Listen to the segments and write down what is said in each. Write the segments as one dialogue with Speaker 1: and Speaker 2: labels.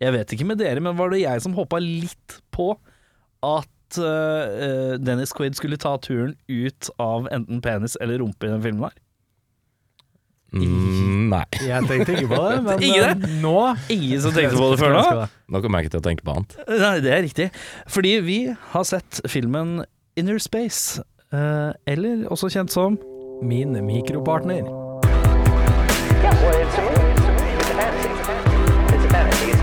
Speaker 1: Jeg vet ikke med dere, men var det jeg som hoppa litt på at eh, Dennis Quaid skulle ta turen ut av enten penis eller rumpe i den filmen her?
Speaker 2: Mm, nei.
Speaker 3: Jeg tenkte ikke på det, men
Speaker 1: Ikke
Speaker 3: eh,
Speaker 1: det?
Speaker 3: nå
Speaker 1: Ingen som tenkte på det før nå?
Speaker 2: Nå kommer jeg ikke til å tenke på annet.
Speaker 1: Nei, det er riktig. Fordi vi har sett filmen Inner Space, eh, eller også kjent som
Speaker 3: Min mikropartner.
Speaker 4: Yeah, well, it's a movie. It's a movie. It's a fantasy. It's a fantasy. It's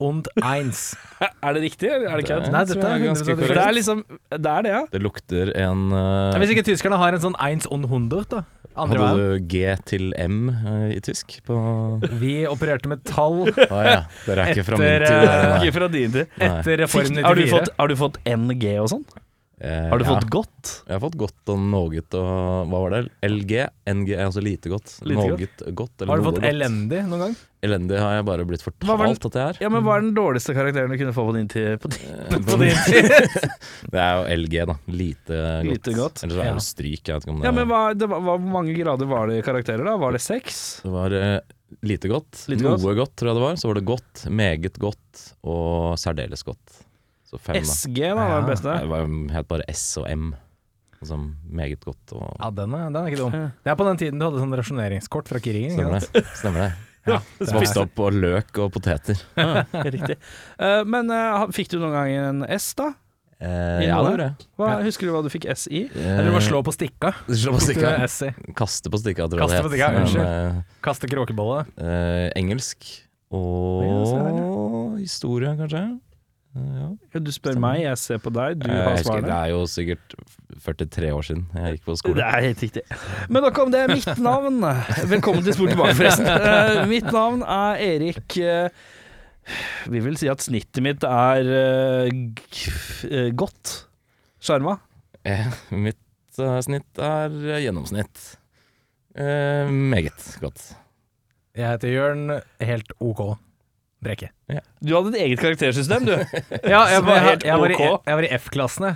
Speaker 3: und eins.
Speaker 1: Er det riktig, eller er det kødd?
Speaker 3: Nei, dette er
Speaker 2: ganske
Speaker 3: 100%
Speaker 1: For Det
Speaker 2: korrekt.
Speaker 1: er liksom Det er det, ja.
Speaker 2: Det lukter en eh,
Speaker 3: Hvis ikke tyskerne har en sånn eins und hundert, da. Andre veien.
Speaker 2: Hadde du G til M eh, i tysk? På
Speaker 3: Vi opererte med tall
Speaker 2: Å ja, dere er ikke fra min
Speaker 3: Etter,
Speaker 2: tid. dere, nei.
Speaker 1: eh, Ikke fra din tid.
Speaker 3: etter Reform
Speaker 1: Har du
Speaker 3: 94.
Speaker 1: fått, har du fått NG og sånn?
Speaker 2: Eh,
Speaker 1: Har du
Speaker 2: ja.
Speaker 1: fått godt?
Speaker 2: Jeg har fått godt og noget og Hva var det? LG? NG er altså lite godt.
Speaker 1: Lite
Speaker 2: Noget godt. eller
Speaker 3: Har du fått
Speaker 2: noe godt.
Speaker 3: elendig noen gang?
Speaker 2: Elendig har jeg bare blitt fortalt
Speaker 1: Hva var
Speaker 2: at jeg er.
Speaker 1: Ja, men hva er den dårligste karakteren du kunne få på din tid? På din?
Speaker 2: det er jo LG, da. Lite godt.
Speaker 1: Lite godt.
Speaker 2: Ellers er
Speaker 3: Ja.
Speaker 2: det jo stryk. Jeg vet ikke om det,
Speaker 1: Ja, men hva, det, var- hva, Hvor mange grader var det i karakterer, da? Var det seks?
Speaker 2: det var eh, lite godt.
Speaker 1: Lite
Speaker 2: noe
Speaker 1: godt.
Speaker 2: godt. tror jeg det var. Så var det godt, meget godt og særdeles godt. Så fem, da.
Speaker 1: SG, da, var den beste.
Speaker 2: Nei, Det var jo helt bare S og M. Altså meget godt og
Speaker 3: Ja, den er, den er ikke dum. Det er på den tiden du hadde sånn rasjoneringskort fra Kiringen. ikke
Speaker 2: Stemmer
Speaker 3: sant?
Speaker 2: det. Stemmer det.
Speaker 3: Ja,
Speaker 2: Så vokste opp på løk og poteter.
Speaker 1: Riktig. Eh, men eh, fikk du noen gang en S, da?
Speaker 2: Eh,
Speaker 1: Innholdet?
Speaker 2: jeg.
Speaker 1: Hva, Husker du hva du fikk S i?
Speaker 3: Eller du må slå på stikka.
Speaker 2: Eh, Slå på stikka.
Speaker 3: Ikke essay.
Speaker 2: Kaste på stikka, tror jeg
Speaker 3: Kaste på
Speaker 2: det
Speaker 3: stikka,
Speaker 2: het.
Speaker 3: unnskyld.
Speaker 2: Men,
Speaker 3: Kaste kråkebolle.
Speaker 2: eh, eh, engelsk
Speaker 1: Ja, se her,
Speaker 2: og historie, kanskje. Eh, ja.
Speaker 1: Ja, Du spør meg, jeg ser på deg, du
Speaker 2: Eh,
Speaker 1: har
Speaker 2: jeg husker, det
Speaker 1: svarene.
Speaker 2: er jo sikkert 43 år siden jeg gikk på
Speaker 1: Det
Speaker 2: skole.
Speaker 1: er helt riktig. Men nok om det. Mitt navn Velkommen til Spor tilbake, forresten. Eh, mitt navn er Erik eh, Vi vil si at snittet mitt er eh, g- eh, godt. Sjarma.
Speaker 2: Eh, mitt eh, snitt er eh, gjennomsnitt. Eh, meget godt.
Speaker 3: Jeg heter Jørn, helt OK. Brekke.
Speaker 1: Du hadde et eget karaktersystem, du.
Speaker 3: Ja, jeg,
Speaker 1: Som var
Speaker 3: var, jeg,
Speaker 1: helt
Speaker 3: jeg, var, i,
Speaker 1: OK.
Speaker 3: jeg var i F-klassene,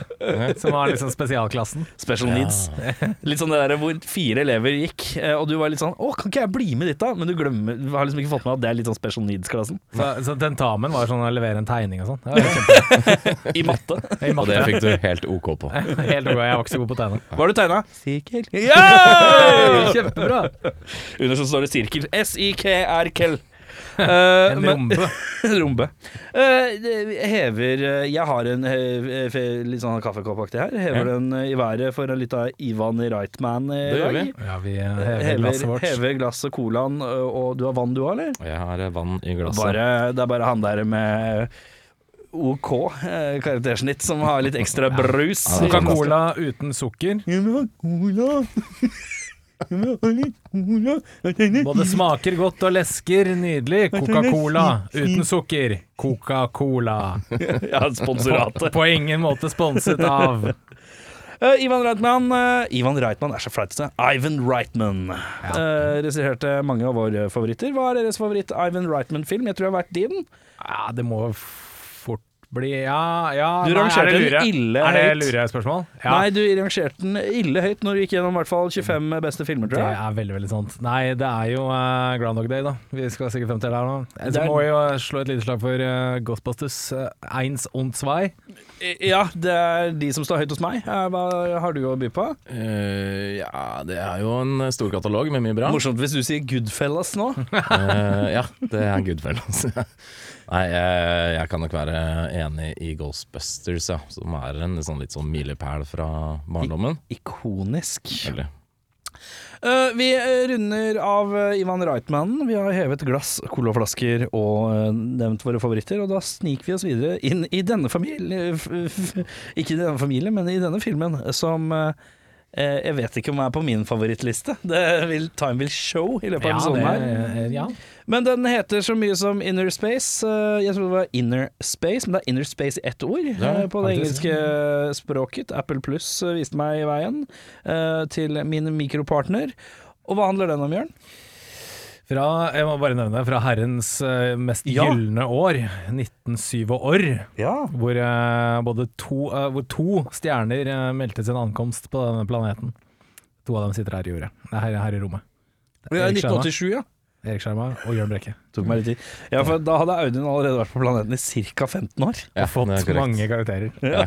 Speaker 3: som var liksom spesialklassen.
Speaker 1: Special needs. Litt sånn det der hvor fire elever gikk, eh, og du var litt sånn Å, kan ikke jeg bli med ditt, da? Men du glemmer Du har liksom ikke fått med at det er litt sånn special needs-klassen.
Speaker 3: Så, så tentamen var sånn å levere en tegning og sånn. Det var
Speaker 1: I matte.
Speaker 3: kjempe- i
Speaker 2: Og det
Speaker 3: matte.
Speaker 2: fikk du helt OK på.
Speaker 3: Helt OK, jeg var ikke så god på å tegne.
Speaker 1: Hva har du tegna? Sirkel.
Speaker 3: Hey,
Speaker 1: Yeah!
Speaker 3: Kjempebra!
Speaker 1: Under så står det sirkel. S-I-K-R-Kel. Eh,
Speaker 3: En rombe.
Speaker 1: Rombe. Eh, det hever eh, Jeg har en eh, fe- litt sånn kaffekoppaktig her. Hever den eh, i været for en liten Ivan Reitman i
Speaker 2: Det
Speaker 1: dag.
Speaker 2: gjør vi.
Speaker 3: Ja, vi eh, hever glasset
Speaker 1: Hever,
Speaker 3: vårt.
Speaker 1: hever glass og colaen, eh, og du har vann du òg, eller?
Speaker 2: Og jeg har eh, vann i glasset.
Speaker 1: Bare, det er bare han der med eh, OK eh, karaktersnitt som har litt ekstra brus.
Speaker 2: Ja, det er sånn.
Speaker 3: Coca-Cola uten sukker. Både smaker godt og lesker nydelig. Coca-Cola uten sukker. Coca-Cola.
Speaker 1: ja, sponsoratet.
Speaker 3: På ingen måte sponset av
Speaker 1: Eh, Ivan Reitman eh, Ivan Reitman er så flaut til det. Ivan Reitman. Eh, regisserte mange av våre favoritter. Hva er deres favoritt-Ivan Reitman-film? Jeg tror det har vært din.
Speaker 3: Ja, det må fort bli Ja, ja
Speaker 1: Du
Speaker 3: nei,
Speaker 1: rangerte
Speaker 3: er det
Speaker 1: den
Speaker 3: lure?
Speaker 1: ille
Speaker 3: Er det
Speaker 1: høyt.
Speaker 3: lure spørsmål? Ja.
Speaker 1: Nei, du rangerte den ille høyt når du gikk gjennom i hvert fall 25 beste filmer,
Speaker 3: Det
Speaker 1: tror jeg.
Speaker 3: er veldig veldig sant. Nei, det er jo eh, Groundhog Day, da. Vi skal sikkert frem til det her nå. Jeg
Speaker 1: Det er-
Speaker 3: må jo slå et lite slag for eh, Ghostbusters. eh, Eins und zwei.
Speaker 1: Ja, det er de som står høyt hos meg. Eh, Hva har du å by på?
Speaker 2: Eh, ja, det er jo en eh, stor katalog med mye bra.
Speaker 1: Morsomt hvis du sier Goodfellas nå.
Speaker 2: Eh, ja, det er Goodfellas. Nei, jeg, jeg kan nok være enig i Ghostbusters, ja, som er en litt sånn, litt sånn milepæl fra barndommen.
Speaker 1: Ikonisk.
Speaker 2: Veldig.
Speaker 1: Eh, vi eh, runder av eh, Ivan Reitmannen. Vi har hevet glass, colaflasker og eh, nevnt våre favoritter. Og da sniker vi oss videre inn i denne familien Ikke i denne familien, men i denne filmen, som eh, eh, jeg vet ikke om jeg er på min favorittliste. Det vil, time will show i løpet av episoden her.
Speaker 3: det, ja.
Speaker 1: Men den heter så mye som Inner Space. Eh, Jeg trodde det var Inner Space, men det er Inner Space i ett ord
Speaker 2: Ja,
Speaker 1: eh, på det
Speaker 2: faktisk.
Speaker 1: engelske eh, språket. Apple Plus eh, viste meg veien eh, til min mikropartner. Og hva handler den om, Jørn?
Speaker 3: Fra, jeg må bare nevne fra herrens eh, mest
Speaker 1: Ja.
Speaker 3: gylne år, 1907 år,
Speaker 1: Ja.
Speaker 3: hvor, eh, både to, eh, hvor to stjerner eh, meldte sin ankomst på denne planeten. To av dem sitter her i jordet, Nei, her, her i rommet. Det er Erik Skjerma,
Speaker 1: 1987, ja.
Speaker 3: Erik Skjerma og Jørn Brekke.
Speaker 1: Tok meg litt tid. Ja, for da hadde Audun allerede vært på planeten i ca. 15 år.
Speaker 2: Ja,
Speaker 3: og fått
Speaker 2: det er korrekt.
Speaker 3: mange karakterer.
Speaker 2: Ja.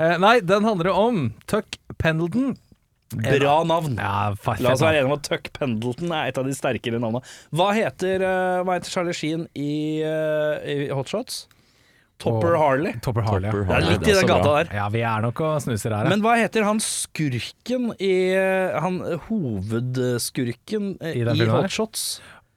Speaker 3: Eh, nei, den handler om Tuck Pendleton.
Speaker 1: Bra navn.
Speaker 3: Ja, fa-
Speaker 1: La oss
Speaker 3: fett,
Speaker 1: være enige om at Tuck Pendleton er et av de sterkere navnene. Hva heter, eh, hva heter Charlie Sheen i, eh, i Hot Shots? Topper
Speaker 3: Åh.
Speaker 1: Harley.
Speaker 3: da. Topper Harley.
Speaker 2: Topper
Speaker 1: Det
Speaker 2: Harley,
Speaker 1: er litt
Speaker 2: det
Speaker 1: i
Speaker 2: er
Speaker 1: den
Speaker 2: så
Speaker 1: gata
Speaker 2: bra.
Speaker 1: der.
Speaker 3: Ja, vi er nok og snuser her. ja.
Speaker 1: Men hva heter han skurken i Han hovedskurken eh,
Speaker 3: I den
Speaker 1: i
Speaker 3: filmen her?
Speaker 1: Hot Shots?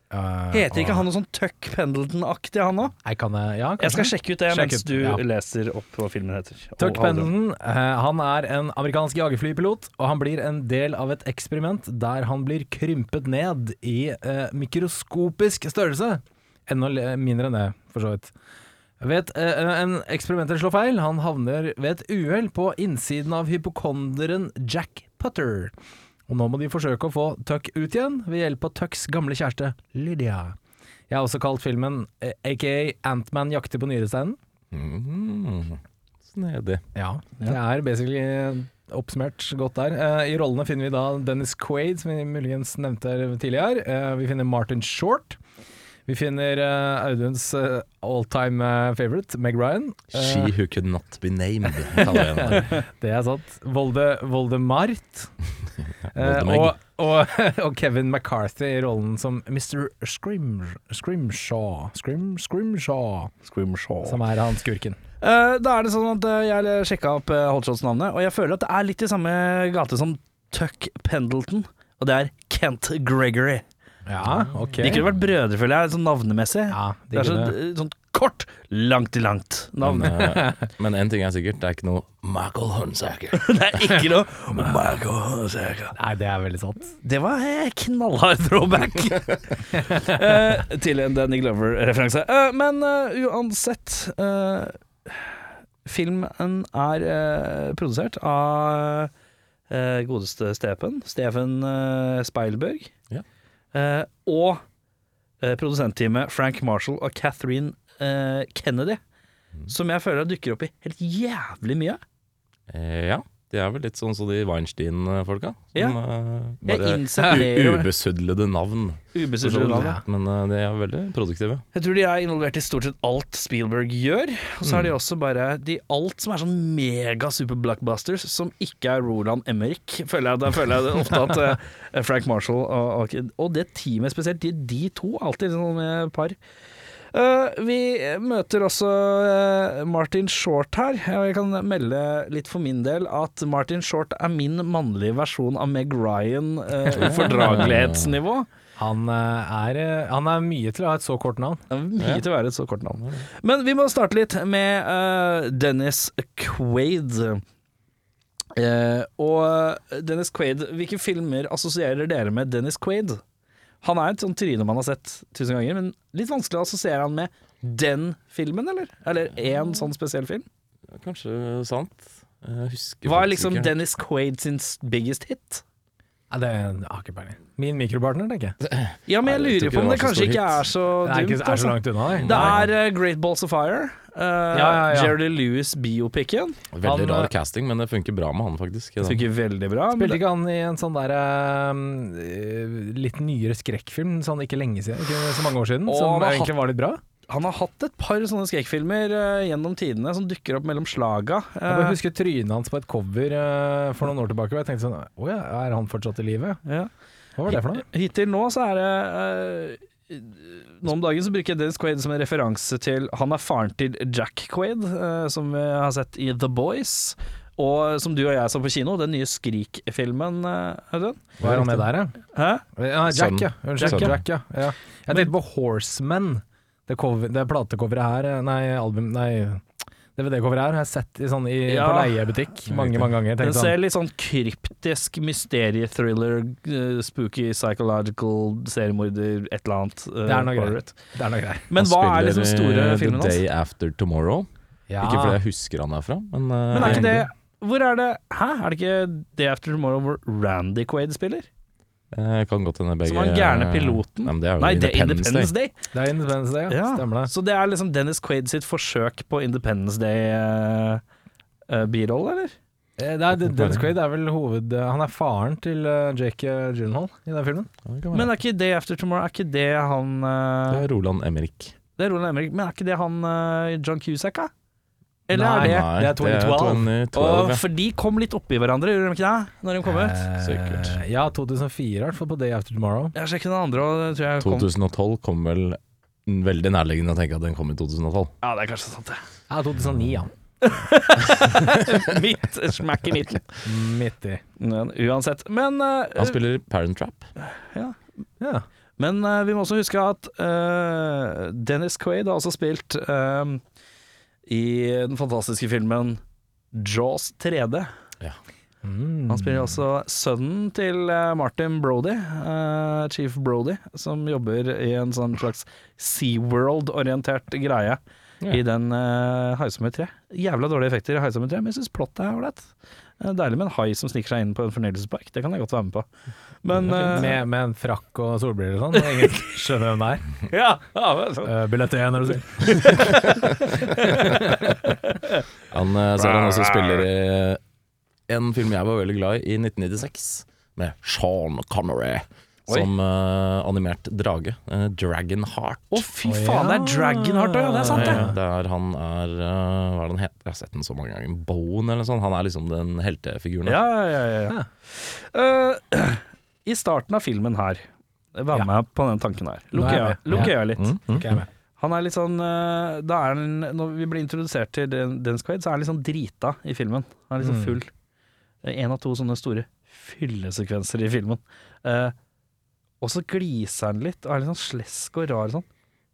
Speaker 3: Eh,
Speaker 1: Heter ikke
Speaker 3: åh.
Speaker 1: han noe sånn Tuck Pendleton-aktig, han òg?
Speaker 3: Nei, kan jeg, ja,
Speaker 1: Jeg skal
Speaker 3: kanskje.
Speaker 1: sjekke ut det
Speaker 3: Sjekk
Speaker 1: mens
Speaker 3: ut,
Speaker 1: du
Speaker 3: ja.
Speaker 1: leser opp hva filmen heter. og handler
Speaker 3: Tuck
Speaker 1: om.
Speaker 3: Pendleton eh, han er en amerikansk jagerflypilot, og han blir en del av et eksperiment der han blir krympet ned i eh, mikroskopisk størrelse. Enda le- mindre enn det, for så vidt. Ved et, eh, en eksperimenter slår feil. Han havner ved et uhell på innsiden av hypokonderen Jack Putter. Og nå må de forsøke å få Tuck ut igjen ved hjelp av Tucks gamle kjæreste Lydia. Jeg har også kalt filmen eh, aka Antman jakter på nyresteinen.
Speaker 2: Mm. Snedig.
Speaker 3: Ja, det er basically eh, oppsummert godt der. Eh, I rollene finner vi da Dennis Quaid, som vi muligens nevnte her tidligere. Eh, vi finner Martin Short. Vi finner eh, Auduns eh, alltime eh, favorite, Meg Ryan. Eh,
Speaker 2: She who could not be named, kaller jeg henne.
Speaker 3: det er sant. Volde, Voldemart. Eh,
Speaker 2: Voldemeg.
Speaker 3: og, og, og Kevin McCarthy i rollen som Mr. Scrim, Scrimshaw. Scrim, Scrimshaw,
Speaker 1: Scrimshaw.
Speaker 3: som er han skurken.
Speaker 1: Eh, da er det sånn at eh, jeg sjekka opp eh, Hot Shots-navnet, og jeg føler at det er litt i samme gate som Tuck Pendleton, og det er Kent Gregory.
Speaker 3: Ja, ok.
Speaker 1: De kunne vært brødre, føler jeg, sånn navnemessig.
Speaker 3: ja,
Speaker 1: det er så,
Speaker 3: kunne-
Speaker 1: sånn kort, langt i langt navn.
Speaker 2: Men, eh, men en ting er sikkert, det er ikke noe Michael Hunsaker.
Speaker 1: det er ikke noe Oh my God, så jeg kan-
Speaker 3: Nei, det er veldig sant.
Speaker 1: Det var eh, knallhard throwback Eh, til en Danny Glover-referanse. Eh, men eh, uansett eh, Filmen er eh, produsert av eh, godeste Stepen, Steven eh, Speilberg.
Speaker 2: Ja.
Speaker 1: Eh, og eh, produsentteamet Frank Marshall og Catherine eh, Kennedy. Som jeg føler dukker opp i helt jævlig mye.
Speaker 2: Eh, ja, de er vel litt sånn som de Weinstein-folka. Som
Speaker 1: Ja.
Speaker 2: eh,
Speaker 1: Jeg
Speaker 2: bare
Speaker 1: innser
Speaker 2: u- ubesudlede navn. for så
Speaker 1: Ubesudlet
Speaker 2: vidt.
Speaker 1: navn.
Speaker 2: Men eh, de er veldig produktive.
Speaker 1: Jeg tror de er involvert i stort sett alt Spielberg gjør. Og så er de også bare de alt som er sånn mega superblockbusters som ikke er Roland Emmerich. Føler jeg, da føler jeg det ofte at eh, Frank Marshall og, og, og det teamet spesielt, de, de to alltid sånn eh, par. Eh, vi møter også eh, Martin Short her. og Jeg kan melde litt for min del at Martin Short er min mannlige versjon av Meg Ryan eh, fordragelighetsnivå.
Speaker 3: Han eh, er, eh, han er mye til å ha et så kort navn.
Speaker 1: Det er mye til å være et så kort navn. Men vi må starte litt med eh, Dennis Quaid. Eh, og Dennis Quaid, hvilke filmer assosierer dere med Dennis Quaid? Han er et sånt tryne man har sett tusen ganger, men litt vanskelig å assosiere han med den filmen, eller? Eller én sånn spesiell film?
Speaker 2: Kanskje sant. Jeg husker
Speaker 1: Hva
Speaker 2: faktisk
Speaker 1: er liksom
Speaker 2: ikke.
Speaker 1: Dennis Quaid sin biggest hit?
Speaker 3: Ja, det jeg har ikke peiling. Min mikropartner, tenker jeg.
Speaker 1: Ja, men jeg
Speaker 2: Nei, jeg tror
Speaker 1: lurer på om det
Speaker 2: ikke det var
Speaker 1: kanskje
Speaker 2: så stor
Speaker 1: ikke
Speaker 2: hit.
Speaker 1: er så
Speaker 3: Det er ikke
Speaker 1: dumt.
Speaker 3: er så
Speaker 1: Altså.
Speaker 3: langt unna. jeg.
Speaker 1: Det er eh, Great Balls of Fire. Uh,
Speaker 3: ja, ja.
Speaker 1: Jerry Lewis-biopicen.
Speaker 2: Veldig
Speaker 3: Han, eh,
Speaker 2: rar casting, men det funker bra med han, faktisk. i den.
Speaker 1: Funker veldig bra. men
Speaker 3: Spilte ikke han i en sånn der eh, litt nyere skrekkfilm sånn ikke lenge siden, ikke så mange år siden,
Speaker 1: Å, han
Speaker 3: som
Speaker 1: har
Speaker 3: egentlig var litt bra?
Speaker 1: Han har hatt et par sånne skrekkfilmer eh, gjennom tidene som dukker opp mellom slaga.
Speaker 3: Jeg bare
Speaker 1: Eh,
Speaker 3: husker trynet hans på et cover eh, for noen år tilbake, og jeg tenkte sånn Å ja, er han fortsatt i live?
Speaker 1: Eh, ja.
Speaker 3: Hva var det for noe?
Speaker 1: Hittil nå så er det eh, Nå om dagen så bruker jeg Dennis Quaid som en referanse til Han er faren til Jack Quaid, eh, som vi har sett i The Boys. Og eh, som du og jeg så på kino, den nye Skrik-filmen, eh, Audun.
Speaker 3: Hva er han med der, ja?
Speaker 1: Hæ?
Speaker 3: ja Jack, ja. Unnskyld.
Speaker 2: Sønnen.
Speaker 3: Jack, ja. ja. Jeg tenkte på Horseman. Det, cover, det platecoveret her eh, Nei, album Nei, DVD-cover her har jeg sett i, sånn, i, på
Speaker 1: Ja.
Speaker 3: leiebutikk mange, mange ganger.
Speaker 1: Den
Speaker 3: Tenkte
Speaker 1: ser
Speaker 3: sånn,
Speaker 1: litt sånn kryptisk mysterie-thriller, eh, spooky psychological seriemorder, et eller annet. eh,
Speaker 3: Det er noe
Speaker 1: over
Speaker 3: greit.
Speaker 1: it.
Speaker 3: det er noe greier.
Speaker 1: Men
Speaker 2: Han
Speaker 1: hva er
Speaker 2: spiller,
Speaker 1: liksom store
Speaker 2: eh,
Speaker 1: filmen
Speaker 2: The
Speaker 1: hans?
Speaker 2: Day After Tomorrow. Ikke fordi jeg husker han derfra, men, eh,
Speaker 1: Men er ikke det Hvor er det Hæ, er det ikke Day After Tomorrow hvor Randy Quaid spiller?
Speaker 2: eh, kan godt hende begge
Speaker 1: Som
Speaker 2: eh,
Speaker 1: han gærne piloten?
Speaker 2: Nei, men det er jo
Speaker 1: Nei, det er
Speaker 2: Independence Day.
Speaker 1: Independence Day.
Speaker 3: Det er Independence Day, ja.
Speaker 1: Ja.
Speaker 3: Stemmer det.
Speaker 1: Så det er liksom Dennis Quaid sitt forsøk på Independence Day-birolle, eller?
Speaker 3: Eh, Det er, Dennis Quaid er vel hoved... Han er faren til eh, Jake eh, Gyllenhaal i den filmen.
Speaker 2: Ja, det kan være.
Speaker 1: Men er ikke Day After Tomorrow Er ikke det han
Speaker 2: det
Speaker 1: eh,
Speaker 2: er Roland Emrik.
Speaker 1: Det er Roland Emmerich, men er ikke det han eh, John Cusack, da? Eller
Speaker 3: Nei,
Speaker 1: er det
Speaker 2: Nei,
Speaker 3: det er 2012.
Speaker 2: 2012,
Speaker 1: Åh,
Speaker 2: ja.
Speaker 1: For de kom litt oppi hverandre, gjorde de ikke det? Når de kom ut?
Speaker 2: Sikkert.
Speaker 3: Eh, Ja, 2004 i hvert fall, på Day After Tomorrow.
Speaker 1: Jeg sjekket den andre, og det tror jeg kom
Speaker 2: 2012 kom vel veldig nærliggende å tenke at den kom i 2012.
Speaker 1: Ja, det er kanskje sant, det.
Speaker 3: Ja, 2009, ja.
Speaker 1: Midt smack i midten.
Speaker 3: Midt i.
Speaker 1: Men uansett. Men, eh,
Speaker 2: Han spiller Parent Trap.
Speaker 3: Ja.
Speaker 1: men eh, vi må også huske at eh, Dennis Quaid har også spilt eh, i den fantastiske filmen Jaws 3D.
Speaker 3: Mm.
Speaker 1: Han spiller også sønnen til eh, Martin Brody, eh, Chief Brody, som jobber i en sånn slags SeaWorld-orientert greie i den eh, Haisommer 3. Jævla dårlige effekter i Haisommer 3, men jeg syns plottet er ålreit. Eh, Deilig med en hai som sniker seg inn på en fornøyelsespark, det kan jeg godt være med på. Men eh,
Speaker 3: Med, med en frakk og solbriller og sånn. Ingen skjønner hvem det er.
Speaker 1: ja, ja, men så-
Speaker 3: Uh, billett én, er det du sier.
Speaker 2: Han eh, så er han også spiller i en film jeg var veldig glad i, i 1996, med Sean Connery.
Speaker 1: Oi.
Speaker 2: Som eh, animert drage. eh, Dragon Heart.
Speaker 1: Å, fy
Speaker 3: Å,
Speaker 1: faen, det
Speaker 3: ja.
Speaker 1: er Dragonheart òg, ja! Det er sant, det.
Speaker 2: Eh, Der han er eh, Hva er det han heter? Jeg har sett den så mange ganger. Bone eller noe sånt. Han er liksom den heltefiguren.
Speaker 1: Ja, ja, ja. ja, ja. Eh, I starten av filmen her, vær
Speaker 3: Ja.
Speaker 1: med på den tanken her.
Speaker 3: Nå er
Speaker 1: Lukk
Speaker 3: jeg
Speaker 1: øya
Speaker 3: med.
Speaker 1: lukk
Speaker 3: Ja.
Speaker 1: øya litt.
Speaker 2: Mm, mm.
Speaker 3: Ok, jeg er med.
Speaker 1: Han er litt sånn eh, Da er han Når vi blir introdusert til Den- Dennis Quaid, så er han litt sånn drita i filmen. Han er litt sånn
Speaker 3: Mm.
Speaker 1: full. Én av to sånne store fyllesekvenser i filmen. Eh, og så gliser han litt, og er litt sånn slesk og rar sånn.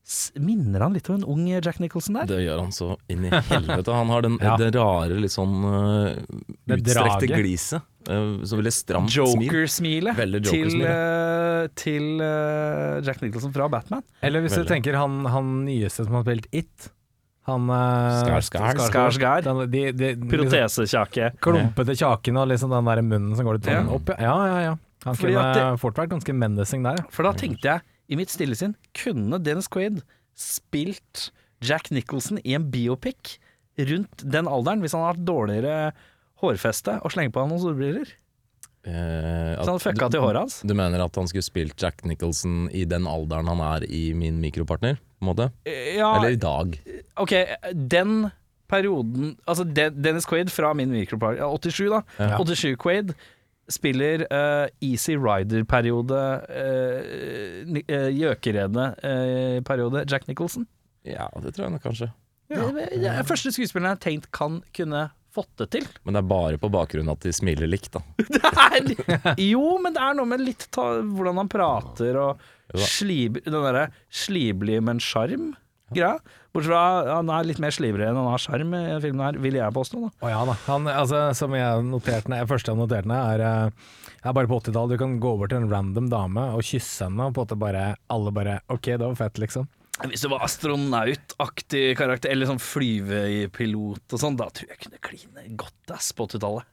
Speaker 1: S- Minner han litt om en ung Jack Nicholson der?
Speaker 2: Det gjør han så inn i helvete. Han har den,
Speaker 3: Ja.
Speaker 2: det rare, litt sånn eh,
Speaker 3: Det
Speaker 2: utstrekte
Speaker 3: draget.
Speaker 2: gliset. eh, så veldig stramt smil.
Speaker 1: Joker-smilet
Speaker 2: Veldig
Speaker 1: til,
Speaker 2: Joker-smil,
Speaker 1: eh, til eh, Jack Nicholson fra Batman.
Speaker 3: Eller hvis
Speaker 2: Veldig.
Speaker 3: du tenker han, han nyeste som har spilt It. Han eh,
Speaker 2: Skarsgård.
Speaker 1: Skarsgård.
Speaker 3: Den- De, de, de, liksom,
Speaker 1: Protesekjake.
Speaker 3: klumpete kjaken og liksom den der munnen som går litt sånn
Speaker 1: Ja.
Speaker 3: opp. ja. Ja, ja, ja. Han
Speaker 1: Fordi
Speaker 3: kunne
Speaker 1: at
Speaker 3: fort vært ganske menacing der. ja.
Speaker 1: For da tenkte jeg i mitt stille sinn Kunne Dennis Quaid spilt Jack Nicholson i en biopic rundt den alderen hvis han hadde hatt dårligere hårfeste og slenge på han noen solbriller?
Speaker 2: Eh, at
Speaker 1: Så han fucka til håret hans?
Speaker 2: Du mener at han skulle spilt Jack Nicholson i den alderen han er i min mikropartner? På en måte?
Speaker 1: Eh, Ja,
Speaker 2: Eller i dag?
Speaker 1: OK, den perioden Altså De- Dennis Quaid fra min mikropart, ja, 87, da.
Speaker 2: Ja.
Speaker 1: 87 Quaid spiller eh, Easy Rider-periode, eh, ni- eh, Gjøkeredet-periode, Jack Nicholson.
Speaker 2: Ja, det tror jeg nok kanskje.
Speaker 1: Det, det er første skuespilleren jeg har tenkt kan kunne fått det til.
Speaker 2: Men det er bare på bakgrunn at de smiler likt, da.
Speaker 1: er, jo, men det er noe med litt ta, hvordan han prater og
Speaker 2: Jo da.
Speaker 1: slib, den derre sliblig, men sjarm. Greia. Bortsett fra han er litt mer slibrig enn han har sjarm i filmen her, vil jeg påstå. Da.
Speaker 3: Å ja da. Han, altså, som jeg noterte ned, første jeg noterte ned, er eh, er bare på 80-tallet. Du kan gå bort til en random dame og kysse henne, og på en måte bare alle bare OK, det var fett, liksom.
Speaker 1: Hvis du var astronautaktig karakter, eller sånn flyvepilot og sånn, da tror jeg kunne kline godt ass på 80-tallet.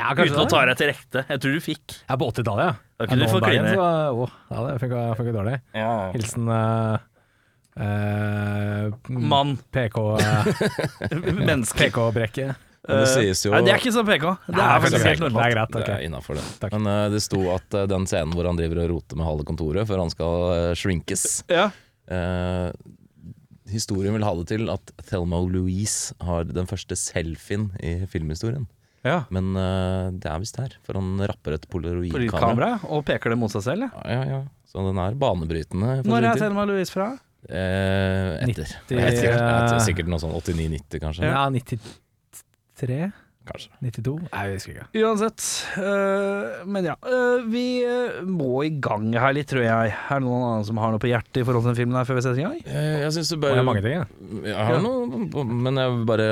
Speaker 3: Ja,
Speaker 1: Uten å ta deg til rette. Jeg tror du fikk.
Speaker 3: Ja, på 80-tallet, ja.
Speaker 1: Da kunne du
Speaker 3: Ja, nå om
Speaker 1: få
Speaker 3: dagen
Speaker 1: kline.
Speaker 3: så var- Å, ja, det funka, funka dårlig. Hilsen eh, eh,
Speaker 1: Mann.
Speaker 3: PK
Speaker 1: Menneske. Eh,
Speaker 3: PK-brekket.
Speaker 2: Men det sies jo
Speaker 1: Nei, det er ikke sånn PK. Det er
Speaker 3: det
Speaker 1: faktisk
Speaker 3: er
Speaker 1: helt
Speaker 3: greit.
Speaker 1: normalt.
Speaker 2: Det er
Speaker 3: ok.
Speaker 2: innenfor det.
Speaker 3: Takk.
Speaker 2: Men eh, det sto at eh, den scenen hvor han driver og roter med halve kontoret før han skal eh, shrinkes
Speaker 1: Ja.
Speaker 2: eh, Historien vil ha det til at Thelma Louise har den første selfien i filmhistorien.
Speaker 1: Ja.
Speaker 2: Men eh, det er visst her, for han rapper et polaroidkamera.
Speaker 1: Kamera, og peker det mot seg selv. Ja.
Speaker 2: Ja, ja, ja. Så den er banebrytende. for
Speaker 1: Når
Speaker 2: sin
Speaker 1: er
Speaker 2: tid.
Speaker 1: Thelma Louise fra?
Speaker 2: Eh, etter. Jeg
Speaker 3: 90,
Speaker 2: vet ikke, jeg vet ikke,
Speaker 3: eh,
Speaker 2: sikkert noe sånn 89-90, kanskje.
Speaker 3: Ja, 93?
Speaker 2: kanskje.
Speaker 3: 92? Nei, jeg husker ikke.
Speaker 1: Uansett. eh, men ja. eh, vi eh, må i gang her litt, tror jeg. Er det noen andre som har noe på hjertet i forhold til den filmen her før vi setter i gang?
Speaker 2: Eh, Jeg syns du
Speaker 3: Det
Speaker 2: bør
Speaker 3: er mange ting, ja.
Speaker 2: Jeg har noe, men jeg vil bare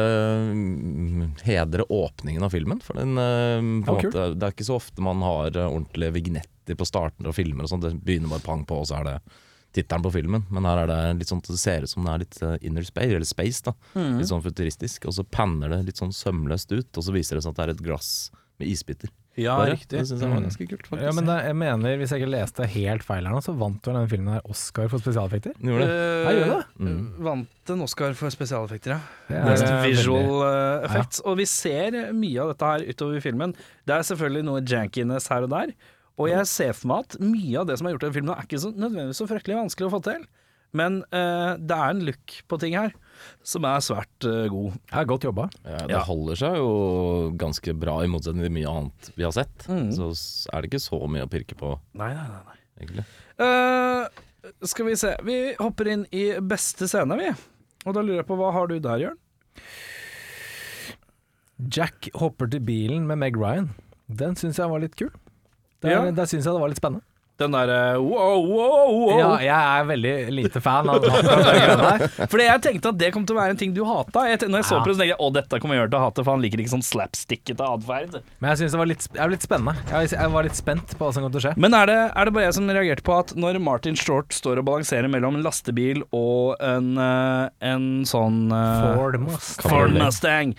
Speaker 2: mm, hedre åpningen av filmen. For den, eh, på
Speaker 3: Ja,
Speaker 2: en
Speaker 3: kult.
Speaker 2: måte, det er ikke så ofte man har eh, ordentlige vignetter på starten av filmer. og sånt. Det begynner bare pang på, og så er det tittelen på filmen. Men her er det litt sånn at det ser ut som det er litt eh, inner space, eller space, da.
Speaker 3: Mm.
Speaker 2: Litt sånn futuristisk. Og så panner det litt sånn sømløst ut, og så viser det seg at det er et glass med isbiter.
Speaker 1: Ja,
Speaker 2: Bare. Det syns
Speaker 3: Mm.
Speaker 2: jeg var ganske kult, faktisk.
Speaker 3: ja men det, jeg mener, hvis jeg ikke leste helt feil her nå, så vant vel denne filmen her Oscar for spesialeffekter?
Speaker 2: Den gjorde det.
Speaker 1: Eh,
Speaker 3: Hei, gjør
Speaker 1: Vant en Oscar for spesialeffekter, ja.
Speaker 3: Det
Speaker 1: Best
Speaker 3: eh, veldig-
Speaker 1: visual eh, effects. Og vi ser mye av dette her utover i filmen. Det er selvfølgelig noe jankiness her og der. Og jeg ser for meg at mye av det som er gjort i den filmen, er ikke så nødvendigvis så fryktelig vanskelig å få til. Men eh, det er en look på ting her som er svært eh, god.
Speaker 3: Ja, godt jobba.
Speaker 2: Ja, Eh, det
Speaker 1: Ja.
Speaker 2: holder seg jo ganske bra, i motsetning til mye annet vi har sett. Så s- er det ikke så mye å pirke på,
Speaker 1: Nei, nei, nei. nei.
Speaker 2: egentlig.
Speaker 1: Eh, skal vi se. Vi hopper inn i beste scene, vi. Og da lurer jeg på hva har du der, Jørn?
Speaker 3: Eh, Jack hopper til bilen med Meg Ryan. Den syns jeg var litt kul. Der,
Speaker 1: Ja.
Speaker 3: der syns jeg det var litt spennende.
Speaker 1: Den derre wow, wow, wow.
Speaker 3: Ja, jeg er veldig lite fan av han fra Bergen der.
Speaker 1: Fordi jeg tenkte at det kom til å være en ting du hata. Jeg ten- når jeg så
Speaker 3: Ja.
Speaker 1: på det, så tenkte jeg å, dette kommer Jørn til å hate, for han liker ikke sånn slapstickete atferd.
Speaker 3: Men jeg syns det var litt, sp- jeg var litt spennende. Jeg, jeg var litt spent på hva som kom til å skje.
Speaker 1: Men er det, er det bare jeg som reagerte på at når Martin Short står og balanserer mellom en lastebil og en, eh, en sånn eh,
Speaker 3: Ford Must.
Speaker 1: Ford Mustang,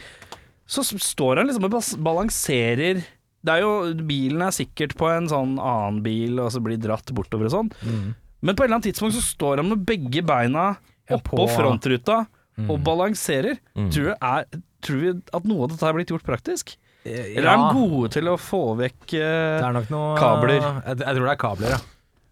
Speaker 1: så s- står han liksom og bas- balanserer det er jo, Bilen er sikkert på en sånn annen bil og så blir dratt bortover og sånn.
Speaker 3: Mm.
Speaker 1: Men på et eller annet tidspunkt så står han med begge beina
Speaker 3: Ja,
Speaker 1: oppå
Speaker 3: på- Mm.
Speaker 1: frontruta og balanserer. Tror, du er, tror vi at noe av dette er blitt gjort praktisk? Eller er de gode til å få vekk eh,
Speaker 3: Eh, Det er nok noe
Speaker 1: Kabler.
Speaker 3: Jeg, jeg tror det er kabler, ja.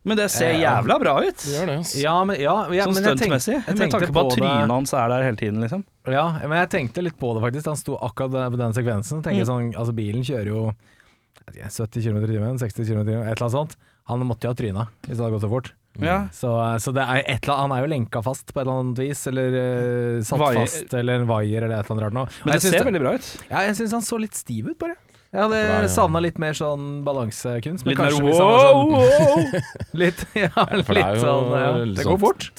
Speaker 1: Men det ser jævla bra ut.
Speaker 2: Det gjør det, ass.
Speaker 3: Ja, men, ja, ja,
Speaker 1: Sånn
Speaker 3: men jeg tenk-
Speaker 1: stuntmessig.
Speaker 3: jeg
Speaker 1: Med
Speaker 3: tenkte
Speaker 1: tanke på at
Speaker 3: det-
Speaker 1: trynet hans er der hele tiden, liksom.
Speaker 3: Ja, men jeg tenkte litt på det faktisk. Han sto akkurat der på den sekvensen. Tenkte
Speaker 1: Mm.
Speaker 3: jeg sånn, altså Bilen kjører jo jeg vet ikke, 70 km i timen, 60 km i timen, et eller annet sånt. Han måtte jo ha tryna hvis det hadde gått så fort.
Speaker 1: Ja.
Speaker 3: Så, eh, så det er et eller annet, han er jo lenka fast på et eller annet vis, eller eh, satt
Speaker 1: Vaier.
Speaker 3: fast, eller en vaier, eller et eller annet rart noe.
Speaker 1: Men det ser
Speaker 3: jeg syns
Speaker 1: veldig bra ut.
Speaker 3: ja, jeg syns han så litt stiv ut, bare. Jeg hadde
Speaker 2: Ja, ja.
Speaker 3: savna litt mer sånn balansekunst. men
Speaker 1: Litt mer
Speaker 3: kanskje hvis han
Speaker 1: wow,
Speaker 3: var sånn-
Speaker 1: wow.
Speaker 3: Litt, ja,
Speaker 2: For det er
Speaker 3: litt
Speaker 2: jo
Speaker 3: sånn ja.
Speaker 2: litt
Speaker 3: Det
Speaker 2: sånn
Speaker 3: går fort.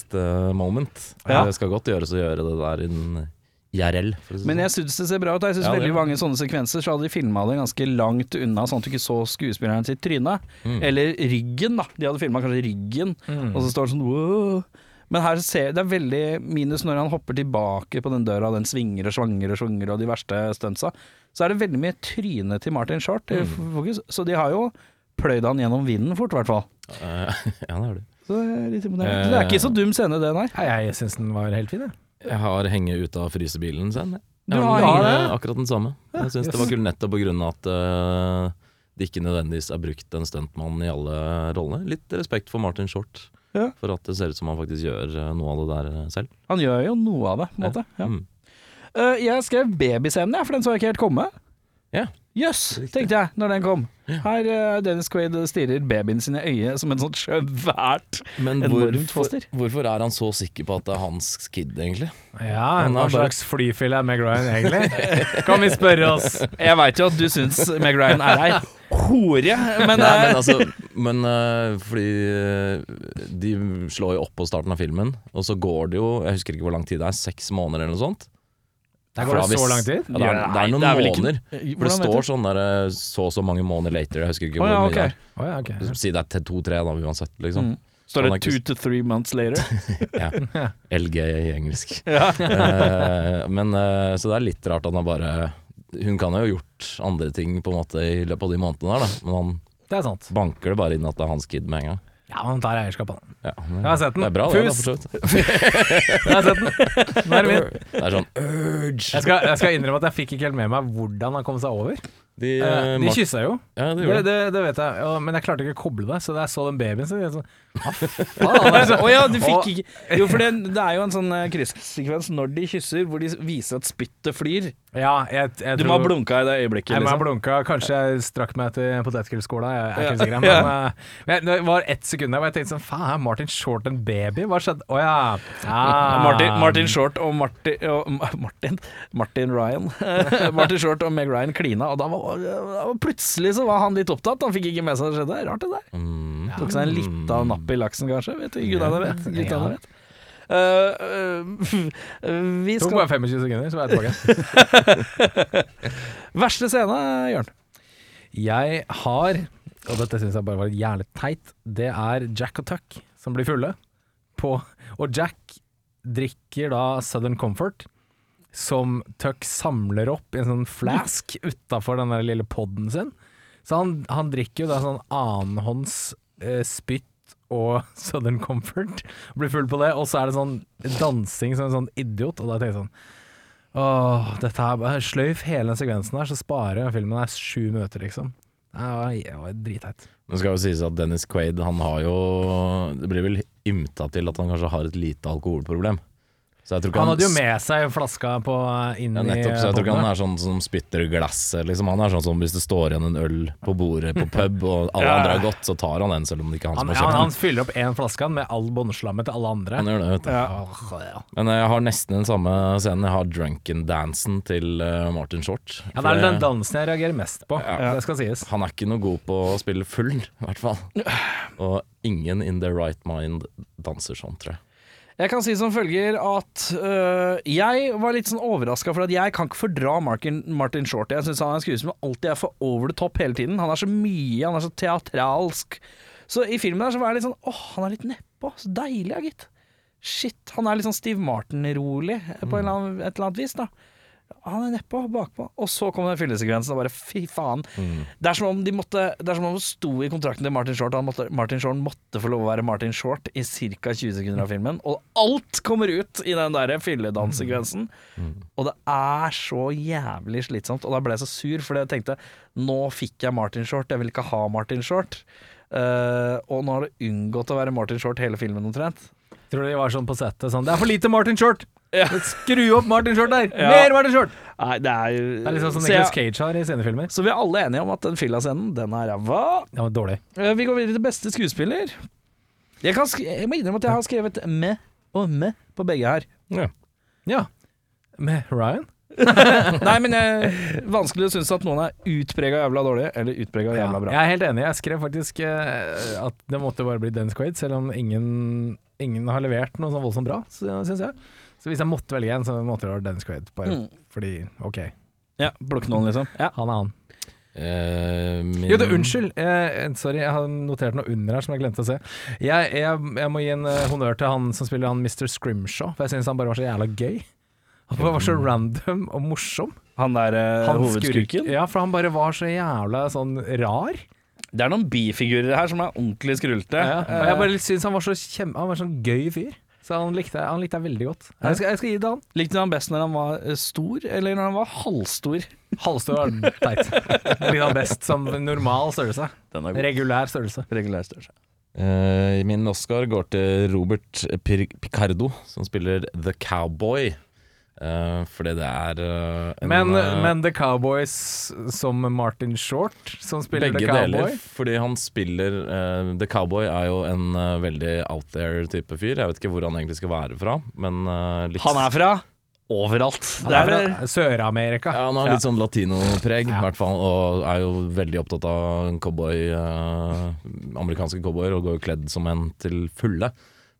Speaker 2: Trapesartist-moment.
Speaker 1: Ja.
Speaker 2: Det skal godt gjøres å gjøre det der innen IRL. For å si det
Speaker 1: Men
Speaker 2: sånn.
Speaker 1: jeg syns det ser bra ut. Jeg synes
Speaker 2: Ja, det
Speaker 1: veldig
Speaker 2: gjør det.
Speaker 1: mange sånne sekvenser Så hadde de filma det ganske langt unna, sånn at du ikke så skuespilleren sitt tryne.
Speaker 2: Mm.
Speaker 1: Eller ryggen, da. De hadde filma kanskje ryggen, og så står det sånn wow. Men her ser det er veldig minus når han hopper tilbake på den døra, den svinger og svanger og svanger, og de verste stuntsa. Så er det veldig mye tryne til Martin Short i
Speaker 2: Mm.
Speaker 1: fokus, så de har jo pløyd han gjennom vinden fort, i hvert fall.
Speaker 2: Eh, ja, det er det.
Speaker 1: Så det er litt
Speaker 2: Eh.
Speaker 1: imponerende. Det er ikke så dum scene, det, nei.
Speaker 3: Nei, jeg syns den var helt fin, jeg.
Speaker 2: Jeg har henge ut av frysebilen sen. jeg.
Speaker 1: Du
Speaker 2: Jeg
Speaker 1: har
Speaker 2: lagd,
Speaker 1: henge-
Speaker 2: eh, akkurat den samme. Jeg syns det var kult nettopp på grunn av at eh, det ikke nødvendigvis er brukt en stuntmann i alle rollene. Litt respekt for Martin Short.
Speaker 1: Ja.
Speaker 2: For at det ser ut som han faktisk gjør eh, noe av det der eh, selv.
Speaker 1: Han gjør jo noe av det, på en måte. Ja.
Speaker 2: Mm.
Speaker 1: Eh, jeg skrev babyscenen, jeg, for den så jeg ikke helt komme.
Speaker 2: Ja.
Speaker 1: Jøss, tenkte jeg når den kom. Her uh, Dennis Quaid stirrer babyen sin i øyet som en sånn svært
Speaker 2: Men
Speaker 1: Enormt
Speaker 2: hvorfor,
Speaker 1: foster.
Speaker 2: hvorfor er han så sikker på at det er hans kid, egentlig?
Speaker 3: Ja,
Speaker 2: Han
Speaker 3: hva
Speaker 2: er bare-
Speaker 3: slags flyfille er Meg Ryan egentlig? Kan vi spørre oss?
Speaker 1: Jeg veit jo at du syns Meg Ryan er ei hore, men,
Speaker 2: Nei,
Speaker 1: eh,
Speaker 2: men altså Men eh, fordi eh, De slår jo opp på starten av filmen, og så går det jo Jeg husker ikke hvor lang tid det er, seks måneder eller noe sånt?
Speaker 3: Der går
Speaker 2: Fra
Speaker 3: det så
Speaker 2: hvis-
Speaker 3: lang tid?
Speaker 2: Ja, det, er, det
Speaker 1: Nei,
Speaker 2: er noen
Speaker 1: det er vel ikke-
Speaker 2: måneder. For det
Speaker 1: Hvordan vet
Speaker 2: står sånn der eh, så og så mange måneder later, jeg husker ikke
Speaker 1: Å,
Speaker 2: hvor
Speaker 1: ja,
Speaker 2: mye det
Speaker 1: ok.
Speaker 2: er.
Speaker 3: Å ja, ok. Mm.
Speaker 2: Si det er til to-tre, da, uansett, liksom.
Speaker 1: Står
Speaker 2: Han
Speaker 1: det
Speaker 2: er ikke-
Speaker 1: two to three months later?
Speaker 2: Ja. LG i engelsk. Eh, men eh, Så det er litt rart at han bare Hun kan jo ha gjort andre ting på en måte i løpet av de månedene der, da. Men han
Speaker 3: Det er sant.
Speaker 2: banker det bare inn at det er hans kid med en gang.
Speaker 3: Ja, han tar eierskap, han.
Speaker 2: Ja, men
Speaker 3: Jeg har sett den.
Speaker 2: det er bra, det. Da,
Speaker 3: Fus!
Speaker 2: for så vidt.
Speaker 3: Jeg har sett den. Nå er det min.
Speaker 2: Det er sånn urge.
Speaker 3: Jeg skal, jeg skal innrømme at jeg fikk ikke helt med meg hvordan han kom seg over.
Speaker 2: De,
Speaker 3: Eh,
Speaker 2: eh,
Speaker 3: De
Speaker 2: Mark-
Speaker 3: kyssa jo,
Speaker 2: ja, det
Speaker 3: det,
Speaker 2: gjorde det.
Speaker 3: det, det vet jeg, Ja, men jeg klarte ikke å koble det. Så da jeg så den babyen, så jeg sånn
Speaker 1: Faen, altså. Å ja, du
Speaker 3: Og-
Speaker 1: fikk ikke Jo, for det, det er jo en sånn eh, kryssekvens når de kysser, hvor de viser at spyttet flyr.
Speaker 3: Ja, jeg, jeg
Speaker 1: Du må ha
Speaker 3: tror-
Speaker 1: blunka i det øyeblikket.
Speaker 3: Jeg må ha
Speaker 1: Liksom.
Speaker 3: blunka. Kanskje jeg strakk meg til potetgullskåla. Jeg er ikke helt sikker.
Speaker 1: Ja.
Speaker 3: Men, eh, men jeg- det var ett sekund der hvor jeg tenkte sånn Faen, er Martin Short en baby? Hva skjedde? Å ja. Ah.
Speaker 1: Martin, Martin Short og Martin, og Ma- Martin, Martin Ryan Martin Short og Meg Ryan klina, og da var, da var plutselig så var han litt opptatt. Han fikk ikke med seg det skjedde. Rart det der.
Speaker 2: Mm.
Speaker 1: Tok seg en lita napp i laksen, kanskje. Vet du, gudene vet. Gudene
Speaker 3: Ja.
Speaker 1: vet. Eh, eh, vi
Speaker 3: Tok
Speaker 1: skal
Speaker 3: bare 25 sekunder, så var jeg tilbake.
Speaker 1: Verste scene, Jørn.
Speaker 3: Jeg har, og dette syns jeg bare var jævlig teit, det er Jack og Tuck som blir fulle. På, og Jack drikker da Southern Comfort, som Tuck samler opp i en sånn flask utafor den der lille podden sin. Så han, han drikker jo da sånn annenhånds eh, spytt og Southern Comfort, blir full på det, og så er det sånn dansing som en sånn idiot, og da tenker jeg sånn Åh, dette her bare Sløyf hele den sekvensen her, så sparer jeg filmen her sju minutter, liksom. Det var, det var dritteit.
Speaker 2: Det skal jo sies at Dennis Quaid han har jo Det blir vel ymta til at han kanskje har et lite alkoholproblem. Så jeg tror ikke
Speaker 3: Han hadde jo med seg flaska på inn
Speaker 2: ja,
Speaker 3: i
Speaker 2: nettopp, så jeg tror ikke han
Speaker 3: podden.
Speaker 2: er sånn som spytter i glasset. Liksom. Han er sånn som hvis det står igjen en øl på bordet på pub, og alle andre har gått, så tar han en, selv om det ikke er han
Speaker 3: Han,
Speaker 2: som
Speaker 3: ja,
Speaker 2: har
Speaker 3: han
Speaker 2: kjøpt den.
Speaker 3: fyller opp én flaske han, med all båndslammet til alle andre.
Speaker 2: Han gjør det, vet du.
Speaker 3: Åh, ja.
Speaker 2: Men eh, jeg har nesten den samme scenen. Jeg har drunken-dansen til eh, Martin Short.
Speaker 3: ja, Det er
Speaker 2: For
Speaker 3: den dansen jeg reagerer mest på,
Speaker 2: Ja.
Speaker 3: det skal sies.
Speaker 2: Han er ikke noe god på å spille full, i hvert fall. Og ingen in their right mind danser sånn, tror jeg.
Speaker 1: Jeg kan si som følger at øh, jeg var litt sånn overraska, for at jeg kan ikke fordra Martin, Martin Short. Jeg syns han er en skuespiller som alltid er for over the top hele tiden. Han er så mye, han er så teatralsk. Så i filmen der så var jeg litt sånn åh, han er litt nedpå. Så deilig, ja, gitt. Shit. Han er litt sånn Steve Martin-rolig eh, på en eller annen, et eller annet vis, da. Han er nedpå, bakpå. Og så kom den fyllesekvensen, og bare fy faen. Det er som om de måtte Det er som om det sto i kontrakten til Martin Short at han måtte, Martin Short måtte få lov å være Martin Short i ca. 20 sekunder av filmen. Og alt kommer ut i den der fylledanssekvensen. Og det er så jævlig slitsomt. Og da ble jeg så sur, fordi jeg tenkte nå fikk jeg Martin Short, jeg vil ikke ha Martin Short. Eh, og nå har det unngått å være Martin Short hele filmen omtrent.
Speaker 3: Tror du de var sånn på settet sånn Det er for lite Martin Short! Skru opp Martin Short der!
Speaker 1: Ja.
Speaker 3: Mer Martin Short!
Speaker 1: Nei, det er sånn jo
Speaker 3: Det er liksom som
Speaker 1: så,
Speaker 3: Nicolas
Speaker 1: jeg,
Speaker 3: Cage har i sine filmer.
Speaker 1: så vi er alle enige om at den fyllascenen, den er ræva.
Speaker 3: Det var dårlig.
Speaker 1: Eh, Vi går videre til beste skuespiller. Jeg, kan sk jeg må innrømme at jeg har skrevet med og med på begge her.
Speaker 3: Ja. Med Ryan?
Speaker 1: Nei, men eh, vanskelig å synes at noen er utprega jævla dårlig, eller utprega jævla bra.
Speaker 3: Jeg er helt enig. Jeg skrev faktisk eh, at det måtte bare bli Dennis Quaid, selv om ingen, ingen har levert noe sånn voldsomt bra, syns jeg. Så hvis jeg måtte velge en, så måtte det være Dennis Quaid. Bare
Speaker 1: Mm.
Speaker 3: fordi OK,
Speaker 1: Ja, Blokk noen, liksom. Ja.
Speaker 3: han er han.
Speaker 2: Eh,
Speaker 1: Mm.
Speaker 2: min-
Speaker 3: Jo, det, unnskyld. Eh, sorry, jeg har notert noe under her som jeg glemte å se. Jeg, jeg, jeg må gi en eh, honnør til han som spiller han Mr. Scrimshaw, for jeg syns han bare var så jævla gøy. Han bare var så random og morsom.
Speaker 1: Han der Mm. eh,
Speaker 3: Han
Speaker 1: hovedskurken.
Speaker 3: skurk- Ja, for han bare var så jævla sånn rar.
Speaker 1: Det er noen bifigurer her som er ordentlig skrulte.
Speaker 3: Ja, og
Speaker 1: Eh,
Speaker 3: jeg bare syns han var så kjem... Han var sånn gøy fyr. Så han likte, jeg- han likte jeg veldig godt. Jeg skal, jeg skal gi det han.
Speaker 1: Likte du han best når han var eh, stor, eller når han var halvstor?
Speaker 3: Halvstor var teit. Likte han best som normal størrelse.
Speaker 1: Den
Speaker 3: Regulær størrelse.
Speaker 1: Regulær størrelse.
Speaker 2: Eh, min Oscar går til Robert Pir Picardo, som spiller The Cowboy. Eh, fordi det er eh, en,
Speaker 3: Men,
Speaker 2: eh,
Speaker 3: men The Cowboys som Martin Short, som spiller
Speaker 2: begge
Speaker 3: The Cowboy
Speaker 2: deler. Fordi han spiller eh, The Cowboy er jo en eh, veldig out there-type fyr. Jeg vet ikke hvor han egentlig skal være fra, men eh, litt,
Speaker 1: Han er fra overalt.
Speaker 3: Han er fra Sør-Amerika.
Speaker 2: ja, han har litt sånn latinopreg, i hvert fall. Og er jo veldig opptatt av en cowboy, eh, amerikanske cowboyer, og går jo kledd som en til fulle.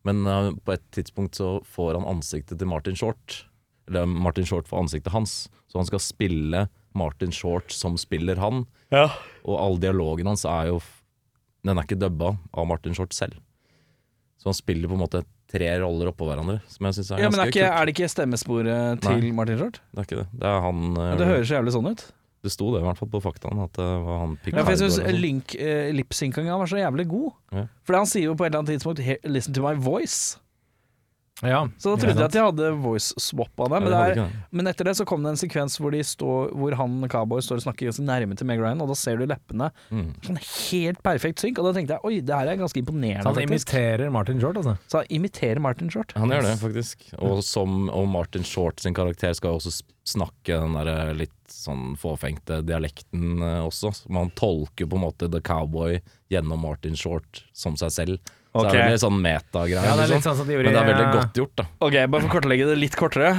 Speaker 2: Men eh, på et tidspunkt så får han ansiktet til Martin Short. Eller Martin Short får ansiktet hans, så han skal spille Martin Short som spiller han.
Speaker 1: Ja.
Speaker 2: Og all dialogen hans er jo f- Den er ikke dubba av Martin Short selv. Så han spiller på en måte tre roller oppå hverandre, som jeg syns er
Speaker 1: Ja, men
Speaker 2: ganske
Speaker 1: er, ikke,
Speaker 2: kult.
Speaker 1: er det ikke stemmesporet til
Speaker 2: Nei.
Speaker 1: Martin Short?
Speaker 2: Det er ikke det. Det er han eh,
Speaker 1: Det høres så jævlig sånn ut.
Speaker 2: det sto det i hvert fall på faktaen, at det var han
Speaker 1: Ja,
Speaker 2: Picardo.
Speaker 1: for jeg syns
Speaker 2: eller noe sånt.
Speaker 1: link eh, lipsynkinga var så jævlig god.
Speaker 2: Ja.
Speaker 1: For han sier jo på et eller annet tidspunkt he- 'listen to my voice'.
Speaker 3: Ja.
Speaker 1: Så da
Speaker 3: Ja,
Speaker 1: trodde jeg
Speaker 3: sant.
Speaker 1: at de hadde voice swap av det,
Speaker 2: Ja,
Speaker 1: men,
Speaker 2: de hadde
Speaker 1: det
Speaker 2: ikke
Speaker 1: er,
Speaker 2: det.
Speaker 1: men etter det så kom det en sekvens hvor, de står, hvor han cowboy står og snakker ganske nærme til Meg Ryan, og da ser du leppene. Sånn helt perfekt synk, og da tenkte jeg oi, det her er ganske imponerende.
Speaker 3: Så han
Speaker 1: faktisk.
Speaker 3: imiterer Martin Short, altså.
Speaker 1: Så han imiterer Martin Short.
Speaker 2: Han gjør det, faktisk. Og, som, og Martin Short sin karakter skal også s- snakke den der eh, litt sånn fåfengte dialekten eh, også. Man tolker på en måte The Cowboy gjennom Martin Short som seg selv. Så
Speaker 1: Ok.
Speaker 2: det er veldig sånn metagreier.
Speaker 3: Ja, det er litt
Speaker 2: liksom.
Speaker 3: sånn som de gjorde
Speaker 2: Men det er
Speaker 3: i,
Speaker 2: veldig
Speaker 3: eh,
Speaker 2: godt gjort, da.
Speaker 1: Ok, bare for å kortlegge det litt kortere.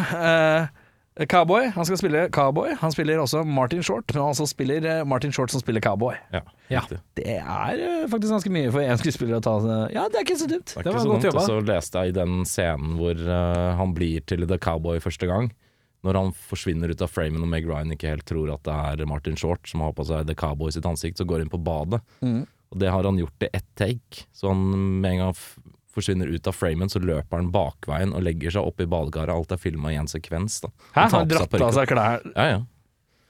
Speaker 1: Eh, cowboy, han skal spille cowboy. Han spiller også Martin Short, men han også spiller eh, Martin Short som spiller cowboy.
Speaker 2: Ja,
Speaker 3: Ja.
Speaker 2: riktig.
Speaker 1: Det er eh, faktisk ganske mye for én skuespiller å ta. eh, Ja, det er ikke så dumt.
Speaker 2: Det
Speaker 3: Det
Speaker 2: er
Speaker 3: var
Speaker 2: ikke så dumt.
Speaker 3: godt
Speaker 2: altså, Og
Speaker 3: jobba.
Speaker 2: så leste jeg i den scenen hvor eh, han blir til The Cowboy første gang. Når han forsvinner ut av framen og Meg Ryan ikke helt tror at det er Martin Short som har på seg The Cowboy sitt ansikt, så går han inn på badet.
Speaker 3: Mm.
Speaker 2: Og det har han gjort i ett take. Så han med en gang han f- forsvinner ut av framen, så løper han bakveien og legger seg opp i badekaret. Alt er filma i en sekvens. Da.
Speaker 1: Hæ?
Speaker 2: tar
Speaker 1: Han
Speaker 2: på seg
Speaker 1: dratt av
Speaker 2: perukken.
Speaker 1: seg klær.
Speaker 2: Ja, ja.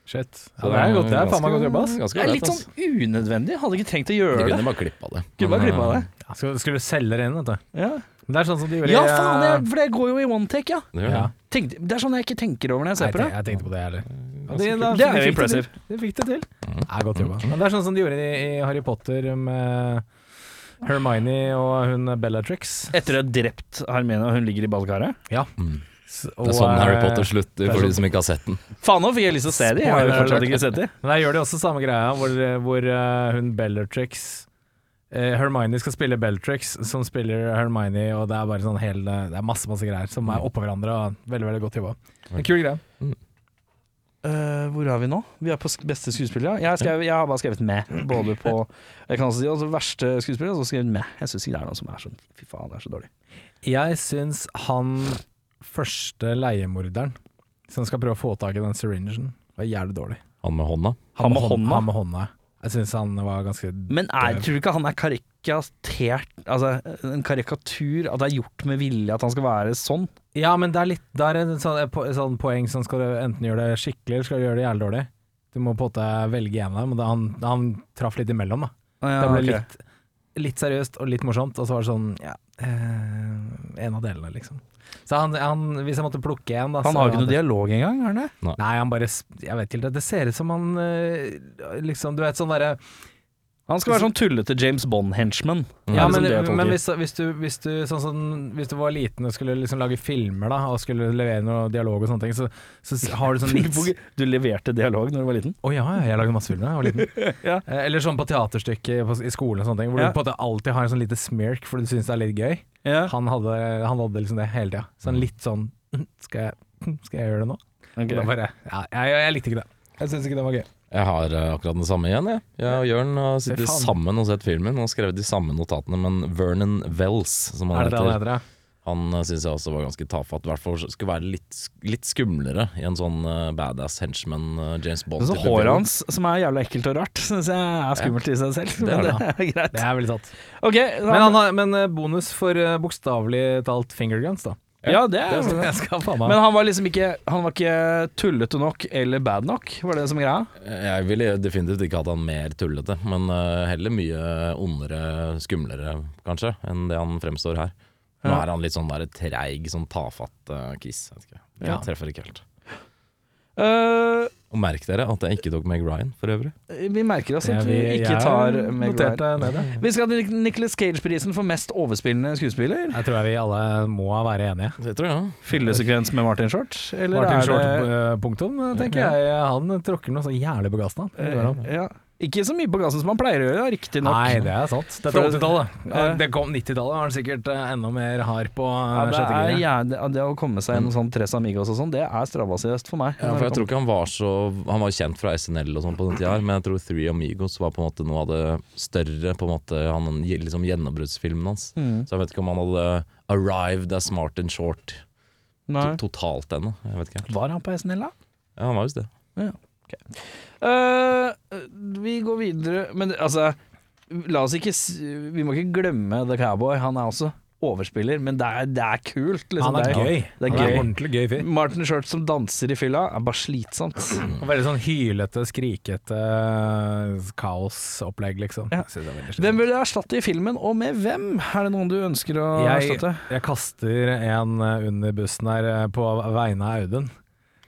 Speaker 3: Shit. Ja, det er, godt, det er faen meg godt jobba. ass.
Speaker 1: Det
Speaker 2: Ganske
Speaker 1: er
Speaker 2: ålreit,
Speaker 1: litt
Speaker 2: ass.
Speaker 1: sånn unødvendig. Hadde ikke trengt å
Speaker 2: De
Speaker 1: gjøre det.
Speaker 2: kunne bare klippa det.
Speaker 1: Kunne bare
Speaker 2: Men,
Speaker 1: klippa
Speaker 2: eh,
Speaker 1: det.
Speaker 3: Skal- Skulle selge det inn, vet du.
Speaker 1: Ja,
Speaker 3: Men Det er sånn som de gjorde
Speaker 1: ja
Speaker 3: i, eh,
Speaker 1: faen, jeg, for det går jo i one take, ja.
Speaker 2: Det gjør
Speaker 3: Ja.
Speaker 2: det.
Speaker 1: Tenkte, det er sånn jeg ikke tenker over når jeg
Speaker 3: Nei,
Speaker 1: ser på det.
Speaker 3: Jeg tenkte på det, jeg heller. Ja, de- da-
Speaker 1: Det er jo
Speaker 3: de fikk Mm. det
Speaker 1: impressive.
Speaker 3: til. De fikk det til. Det er godt jobba. Men det er sånn som de gjorde i, i Harry Potter med Hermione og hun Bellatrix.
Speaker 1: Etter å ha drept Hermene og hun ligger i badekaret.
Speaker 3: Ja.
Speaker 2: Mm.
Speaker 3: S-
Speaker 2: Det
Speaker 3: og,
Speaker 2: er sånn Harry
Speaker 3: eh,
Speaker 2: Potter slutter,
Speaker 3: det er
Speaker 2: for
Speaker 3: sånn-
Speaker 2: de som ikke har sett den.
Speaker 1: Faen, nå fikk jeg lyst til å se de. Jeg har jo fortsatt ikke sett de.
Speaker 3: Men der gjør de også samme greia, hvor, hvor eh, hun Bellatrix eh, Hermione skal spille Bellatrix, som spiller Hermione, og det er bare sånn hel Det er masse, masse greier som er oppå hverandre, og veldig, veldig godt jobba. En kul greie.
Speaker 1: Eh, hvor er vi nå? Vi er på sk- beste skuespiller. ja. Jeg, skrev, jeg har bare skrevet med. Både på Jeg kan også si altså, verste skuespiller, og så skrevet med. Jeg syns ikke det er noen som er sånn Fy faen, det er så dårlig.
Speaker 3: Jeg syns han første leiemorderen som skal prøve å få tak i den syringen, var jævlig dårlig.
Speaker 2: Han med hånda.
Speaker 1: Han med
Speaker 3: hånd-
Speaker 1: hånda?
Speaker 3: Han med hånda. Jeg syns han var ganske
Speaker 1: Men er, tror du ikke han er karikatert Altså en karikatur? At det er gjort med vilje at han skal være sånn?
Speaker 3: Ja, men det er litt Det er et sånn, et po- et sånn poeng som skal du enten gjøre det skikkelig, eller skal du gjøre det jævlig dårlig. Du må på en måte velge en av dem, og det, han, han traff litt imellom, da.
Speaker 1: Ja,
Speaker 3: det ble
Speaker 1: ok.
Speaker 3: litt, litt seriøst og litt morsomt, og så var det sånn ja, eh, En av delene, liksom. Så han, han Hvis jeg måtte plukke en, da
Speaker 1: Han
Speaker 3: så
Speaker 1: har jo ikke
Speaker 3: hadde-
Speaker 1: noe dialog engang, har han det?
Speaker 3: Nei, han bare sp- Jeg vet ikke, det ser ut som han eh, liksom Du vet sånn derre
Speaker 1: Han skal være sånn tullete James Bond-henchman.
Speaker 3: Ja,
Speaker 1: Er liksom
Speaker 3: men,
Speaker 1: det jeg tolker.
Speaker 3: men hvis, hvis, du, hvis, du, sånn, som hvis du var liten og skulle liksom lage filmer da og skulle levere noe dialog og sånne ting, så, så har du sånn litt Å
Speaker 1: Du leverte dialog når du var liten?
Speaker 3: ja, ja, jeg lagde masse filmer da jeg var liten.
Speaker 1: Ja.
Speaker 3: Eh, Eller sånn på teaterstykker på, i skolen og sånne ting, hvor
Speaker 1: Ja.
Speaker 3: du på en måte alltid har en sånn lite smirk fordi du syns det er litt gøy.
Speaker 1: Ja. Mm.
Speaker 3: Han hadde, han hadde liksom det hele tida. Sånn litt sånn Skal jeg, mm, skal jeg gjøre det nå? Og da Bare, ja, jeg, jeg likte ikke det. Jeg syns ikke det var gøy.
Speaker 2: Jeg har eh, akkurat den samme igjen, jeg. Jeg og Jørn har sittet
Speaker 3: faen.
Speaker 2: sammen og sett filmen og skrevet de samme notatene, men Vernon Wells, som han
Speaker 3: Er det det han
Speaker 2: heter,
Speaker 3: heter? ja?
Speaker 2: han uh, syns jeg også var ganske tafatt. I hvert fall skulle være litt, litt skumlere i en sånn eh, badass henchman eh, James Bond.
Speaker 1: Men så
Speaker 2: type
Speaker 1: håret
Speaker 2: film.
Speaker 1: hans, som er jævla ekkelt og rart, syns jeg er skummelt i seg selv.
Speaker 3: Det er
Speaker 1: Men
Speaker 3: det.
Speaker 1: det er greit.
Speaker 3: Det er veldig sant.
Speaker 1: Ok,
Speaker 3: Men, han har, men eh, bonus for eh, bokstavelig talt fingerguns, da.
Speaker 1: Ja, det er
Speaker 3: Jeg skal faen meg
Speaker 1: Men han var liksom ikke Han var ikke tullete nok eller bad nok, var det som er greia?
Speaker 2: Eh, Jeg ville definitivt ikke hatt han mer tullete, men eh, heller mye ondere, skumlere kanskje, enn det han fremstår her. Nå
Speaker 1: Ja.
Speaker 2: er han litt sånn der treig, sånn tafatt eh, Chris. Jeg vet ikke. Jeg
Speaker 1: Ja.
Speaker 2: treffer ikke helt.
Speaker 1: Eh,
Speaker 2: Og merk dere at jeg ikke tok Meg Ryan, for øvrig.
Speaker 1: vi merker oss
Speaker 3: Ja,
Speaker 1: Altså, at vi
Speaker 3: vi-
Speaker 1: ikke
Speaker 3: jeg
Speaker 1: tar Meg Ryan.
Speaker 3: noterte ned det.
Speaker 1: Vi skal til Nicholas Cage-prisen for mest overspillende skuespiller.
Speaker 3: Jeg tror jeg vi alle må være enige.
Speaker 2: Det tror jeg, ja.
Speaker 1: Fyllesekvens med Martin Short, eller
Speaker 3: Martin
Speaker 1: er det
Speaker 3: Short-punktum, tenker jeg. Han tråkker noe så jævlig på gassen. da. Det gjør han.
Speaker 1: Eh, ja. Ikke så mye på gassen som han pleier å gjøre, riktignok.
Speaker 3: Nei, det er sant. Dette
Speaker 1: For-
Speaker 3: er 80-tallet. Ja,
Speaker 1: Ja.
Speaker 3: Det kom 90-tallet, var han sikkert eh, enda mer hard på eh,
Speaker 1: Eh. Ja, det,
Speaker 3: sjette
Speaker 1: er
Speaker 3: giret.
Speaker 1: gjerne, ja, det å komme seg
Speaker 3: Mm.
Speaker 1: gjennom sånn Tres Amigos og sånn, det er strabasiøst for meg.
Speaker 2: Ja, for jeg tror ikke han var så Han var kjent fra SNL og sånn på den tida, her, men jeg tror Three Amigos var på en måte noe av det større på en måte han, liksom gjennombruddsfilmen hans.
Speaker 1: Mm.
Speaker 2: Så jeg vet ikke om han hadde arrived as smart and short to
Speaker 1: Nei.
Speaker 2: totalt ennå. Jeg vet ikke helt.
Speaker 1: Var han på SNL, da?
Speaker 2: Ja, han var visst det.
Speaker 1: Eh, vi går videre Men altså, la oss ikke s- Vi må ikke glemme The Cowboy. Han er også overspiller, men det er, det er kult. Liksom.
Speaker 3: Han er
Speaker 1: Det
Speaker 3: gøy.
Speaker 1: Det
Speaker 3: Han er
Speaker 1: er
Speaker 3: en
Speaker 1: gøy.
Speaker 3: ordentlig gøy fyr.
Speaker 1: Martin Short som danser i fylla, er bare slitsomt.
Speaker 3: Og Veldig sånn hylete, skrikete eh, kaosopplegg, liksom.
Speaker 1: Ja.
Speaker 3: Jeg synes det er veldig slitsomt.
Speaker 1: Hvem vil du erstatte i filmen, og med hvem? Er det noen du ønsker å
Speaker 3: Jeg,
Speaker 1: erstatte?
Speaker 3: jeg kaster en eh, under bussen her eh, på vegne av Audun.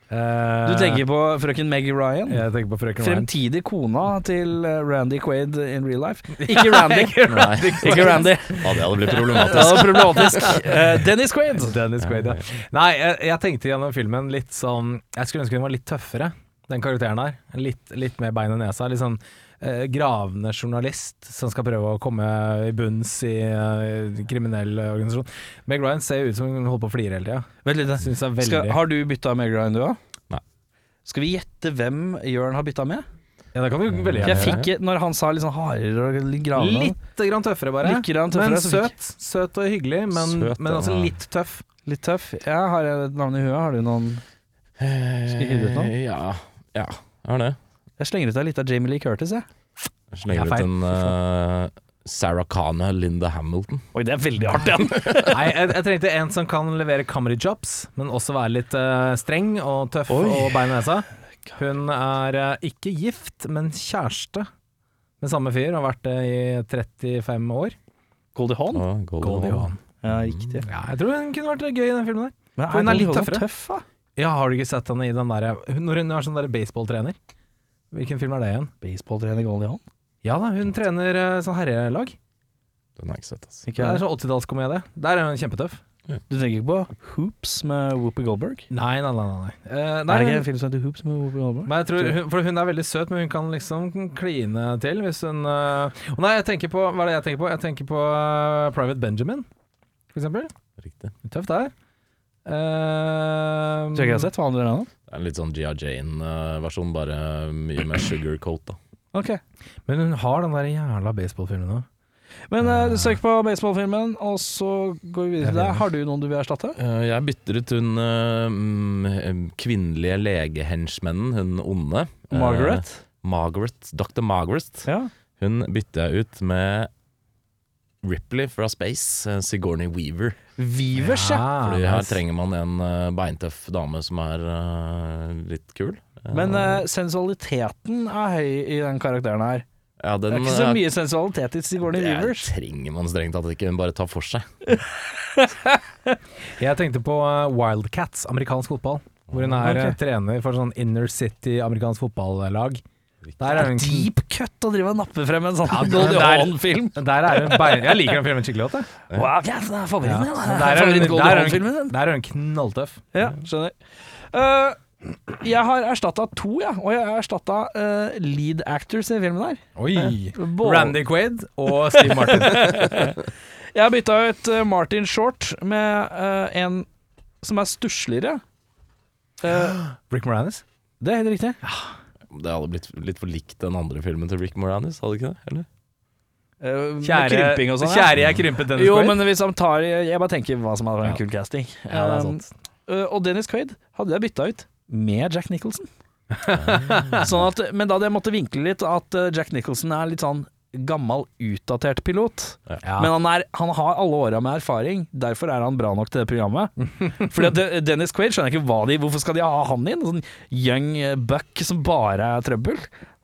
Speaker 3: Eh,
Speaker 1: Du tenker på frøken Meg Ryan?
Speaker 3: Jeg tenker på frøken Ryan.
Speaker 1: Fremtidig kona til eh, Randy Quaid in real life. Ikke Randy.
Speaker 2: Nei,
Speaker 1: Ikke Randy.
Speaker 2: Ja, det hadde blitt
Speaker 1: Det
Speaker 2: problematisk.
Speaker 1: var problematisk. Eh, Dennis Quaid.
Speaker 3: Dennis Quaid, ja. Nei, jeg, jeg tenkte gjennom filmen litt sånn Jeg skulle ønske den var litt tøffere, den karakteren der. Litt, litt mer bein i nesa. Litt sånn eh, gravende journalist som skal prøve å komme i bunns i eh, kriminell eh, organisasjon. Meg Ryan ser ut som hun holder på å flire hele tida.
Speaker 1: Vent litt.
Speaker 3: Syns jeg er veldig
Speaker 1: Skal, har du bytta Meg Ryan, du òg?
Speaker 2: Nei.
Speaker 1: Skal vi gjette hvem Jørn har bytta med?
Speaker 3: Ja, det kan du veldig
Speaker 1: Jeg
Speaker 3: gjerne gjøre.
Speaker 1: fikk, når han sa litt sånn hardere og sånn. litt gravende
Speaker 3: Litt grann tøffere, bare.
Speaker 1: Litt grann tøffere,
Speaker 3: men
Speaker 1: så fikk-
Speaker 3: søt. Søt og hyggelig, men,
Speaker 2: Søt,
Speaker 3: men også
Speaker 2: ja.
Speaker 3: litt tøff.
Speaker 1: Litt tøff. Ja, har jeg et navn i huet? Har du noen Skal jeg hive ut noen?
Speaker 2: Eh, Ja, ja, er det.
Speaker 1: Jeg slenger ut deg litt av Jamie Lee Curtis, jeg.
Speaker 2: Jeg Slenger
Speaker 3: Det
Speaker 2: ut
Speaker 3: er
Speaker 2: en eh, Sarah Connor, Linda Hamilton.
Speaker 1: Oi, det er veldig hardt, ja.
Speaker 3: Nei, jeg, jeg trengte en som kan levere comedy jobs, men også være litt eh, streng og tøff
Speaker 1: Oi.
Speaker 3: og bein i nesa. Hun er eh, ikke gift, men kjæreste med samme fyr, og har vært det i 35 år.
Speaker 1: Goldie Hawn?
Speaker 2: Og Goldie Hawn.
Speaker 1: Ja, riktig.
Speaker 3: Ja, jeg tror hun kunne vært gøy i den filmen der.
Speaker 1: Men
Speaker 3: Hun er litt
Speaker 1: Goldie Hawn
Speaker 3: tøffere.
Speaker 1: Tøff, da.
Speaker 3: Ja, har du ikke sett henne i den derre Når hun er sånn der baseballtrener? Hvilken film er det igjen?
Speaker 1: Baseballtrener Goldie Hawn.
Speaker 3: Ja da, hun trener eh, sånn herrelag.
Speaker 2: Den har jeg ikke sett, altså.
Speaker 3: Det er sånn 80-tallskomedie. Der er hun kjempetøff.
Speaker 1: Du tenker ikke på Hoops med Whoopi Goldberg?
Speaker 3: Nei, nei, nei. nei. nei. Eh,
Speaker 1: er det
Speaker 3: nei
Speaker 1: ikke en film som heter Hoops med Whoopi Goldberg?
Speaker 3: Men jeg tror hun, For hun er veldig søt, men hun kan liksom kline til hvis hun øh, Å Nei, jeg tenker på Hva er det jeg tenker på? Jeg tenker på øh, Private Benjamin, for eksempel.
Speaker 2: Riktig.
Speaker 3: Tøft der. Uh,
Speaker 1: Tror jeg ikke jeg har sett. Hva handler den om?
Speaker 2: Det er en litt sånn Gia Jane-versjon, bare mye mer sugarcoat, da.
Speaker 1: Ok.
Speaker 3: Men hun har den der jævla baseballfilmen nå.
Speaker 1: Men eh, søk på baseballfilmen, og så går vi videre til deg. Har du noen du vil erstatte?
Speaker 2: Eh, Jeg bytter ut hun eh, mm, kvinnelige legehenchmannen, hun onde. Eh,
Speaker 1: Margaret?
Speaker 2: Margaret. Dr. Margaret.
Speaker 1: Ja.
Speaker 2: Hun bytter jeg ut med Ripley fra Space, eh, Sigourney Weaver.
Speaker 1: Weavers, ja.
Speaker 2: Fordi
Speaker 3: nice.
Speaker 2: her trenger man en eh, beintøff dame som er eh, litt kul. Eh,
Speaker 1: Men eh, sensualiteten er høy i den karakteren her.
Speaker 2: ja, den,
Speaker 1: Det er ikke så
Speaker 2: eh,
Speaker 1: mye sensualitet i Sigourney
Speaker 2: det er-
Speaker 1: Weavers.
Speaker 2: trenger man strengt tatt ikke, hun bare tar for seg.
Speaker 3: Jeg tenkte på øh, Wildcats, amerikansk fotball. Hvor hun er
Speaker 1: Ok.
Speaker 3: øh, trener for sånn inner city amerikansk fotballag. Der er hun
Speaker 1: Deep cut å drive og nappe frem en sånn
Speaker 3: Ja,
Speaker 1: Goldie
Speaker 3: der-
Speaker 1: Hawn-film.
Speaker 3: Der er hun bein... Jeg liker den filmen skikkelig godt, jeg.
Speaker 1: Wow, ja, det er
Speaker 3: Ja.
Speaker 1: favoritten,
Speaker 3: Men
Speaker 1: ja.
Speaker 3: Der er hun,
Speaker 1: Favoritt
Speaker 3: der
Speaker 1: Goldie
Speaker 3: er hun,
Speaker 1: Hawn-filmen din.
Speaker 3: der er hun knalltøff.
Speaker 1: Ja, skjønner. Eh, jeg har erstatta to, jeg. Og jeg har erstatta eh, lead actors i filmen her.
Speaker 3: Oi!
Speaker 1: Både-
Speaker 3: Randy Quaid og Steve Martin.
Speaker 1: Jeg har bytta ut eh, Martin Short med eh, en som er stussligere. Eh,
Speaker 3: Rick Moranis?
Speaker 1: det er helt riktig.
Speaker 2: Det hadde blitt litt for likt den andre filmen til Rick Moranis, hadde ikke det? Eller?
Speaker 1: Eh, med krymping og sånn. ja.
Speaker 3: kjære jeg krympet Dennis
Speaker 1: Jo,
Speaker 3: Quaid.
Speaker 1: men hvis han tar Jeg bare tenker hva som hadde vært en kul casting.
Speaker 3: ja, det er sant.
Speaker 1: Eh, og Dennis Quaid hadde jeg bytta ut med Jack Nicholson. sånn at, men da hadde jeg måttet vinkle litt at eh, Jack Nicholson er litt sånn gammel, utdatert pilot.
Speaker 3: Ja.
Speaker 1: Men han, er, han har alle åra med erfaring, derfor er han bra nok til det programmet. Fordi at De- Dennis Quaid skjønner jeg ikke hva de Hvorfor skal de ha han inn? Sånn young eh, buck som bare er trøbbel.